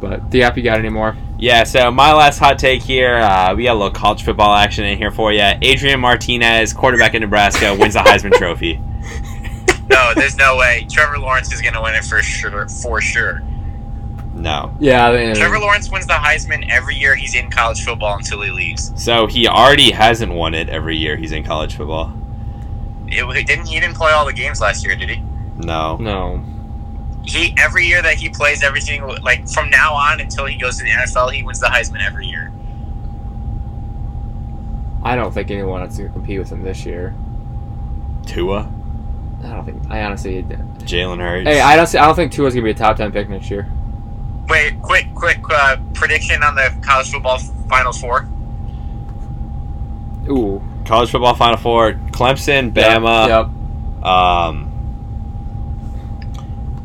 A: But the app you got any more?
C: Yeah. So my last hot take here. Uh, we got a little college football action in here for you. Adrian Martinez, quarterback in Nebraska, wins the Heisman Trophy.
B: No, there's no way. Trevor Lawrence is going to win it for sure. For sure.
C: No.
A: Yeah, I mean,
B: Trevor Lawrence wins the Heisman every year he's in college football until he leaves.
C: So he already hasn't won it every year he's in college football.
B: It, didn't he didn't play all the games last year, did he?
C: No.
A: no.
B: He every year that he plays every single like from now on until he goes to the NFL, he wins the Heisman every year.
A: I don't think anyone is going to compete with him this year.
C: Tua,
A: I don't think. I honestly.
C: Jalen Hurts.
A: Hey, I don't. See, I don't think Tua's going to be a top ten pick next year.
B: Wait, quick, quick uh, prediction on the college football Final Four.
A: Ooh.
C: college football Final Four: Clemson, Bama.
A: Yep.
C: Um.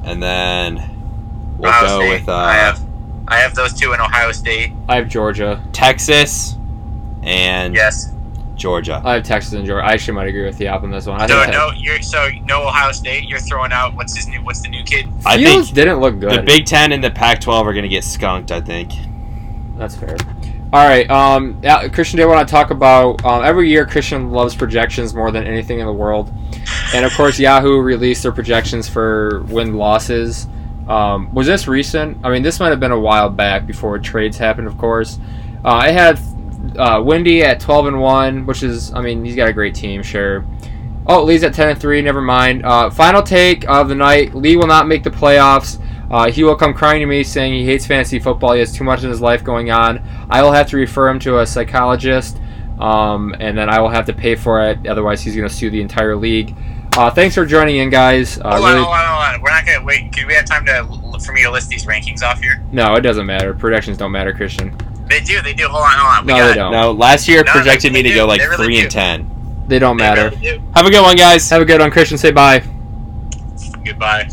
C: And then we'll
B: Ohio
C: go
B: State.
C: with uh,
B: I have, I have those two in Ohio State.
A: I have Georgia.
C: Texas and
B: Yes.
C: Georgia.
A: I have Texas and Georgia. I actually might agree with the app on this one. I
B: So
A: think
B: no, you're so no Ohio State. You're throwing out what's his new? What's the new kid?
C: I
A: Fields
C: think
A: didn't look good.
C: the Big Ten and the Pac-12 are going to get skunked. I think.
A: That's fair. All right, um, yeah, Christian did want to talk about um, every year. Christian loves projections more than anything in the world, and of course, Yahoo released their projections for win losses. Um, was this recent? I mean, this might have been a while back before trades happened. Of course, uh, I had uh, Wendy at twelve and one, which is, I mean, he's got a great team, sure. Oh, Lee's at ten and three. Never mind. Uh, final take of the night: Lee will not make the playoffs. Uh, he will come crying to me saying he hates fantasy football. He has too much in his life going on. I will have to refer him to a psychologist, um, and then I will have to pay for it. Otherwise, he's going to sue the entire league. Uh, thanks for joining in, guys. Uh,
B: hold, on,
A: really-
B: hold on, hold on. We're not gonna wait. Can we have time to for me to list these rankings off here?
A: no, it doesn't matter. Predictions don't matter, Christian.
B: They do. They do. Hold on. Hold on. We
A: No,
B: got
A: they
B: it.
A: don't.
C: No, last year
B: No,
C: projected me to
B: they do.
C: go like
B: They really
C: three and
B: do.
C: ten.
A: They don't
B: They
A: matter.
B: really do.
C: Have a good one, guys.
A: Have a good one, Christian. Say bye.
B: Goodbye.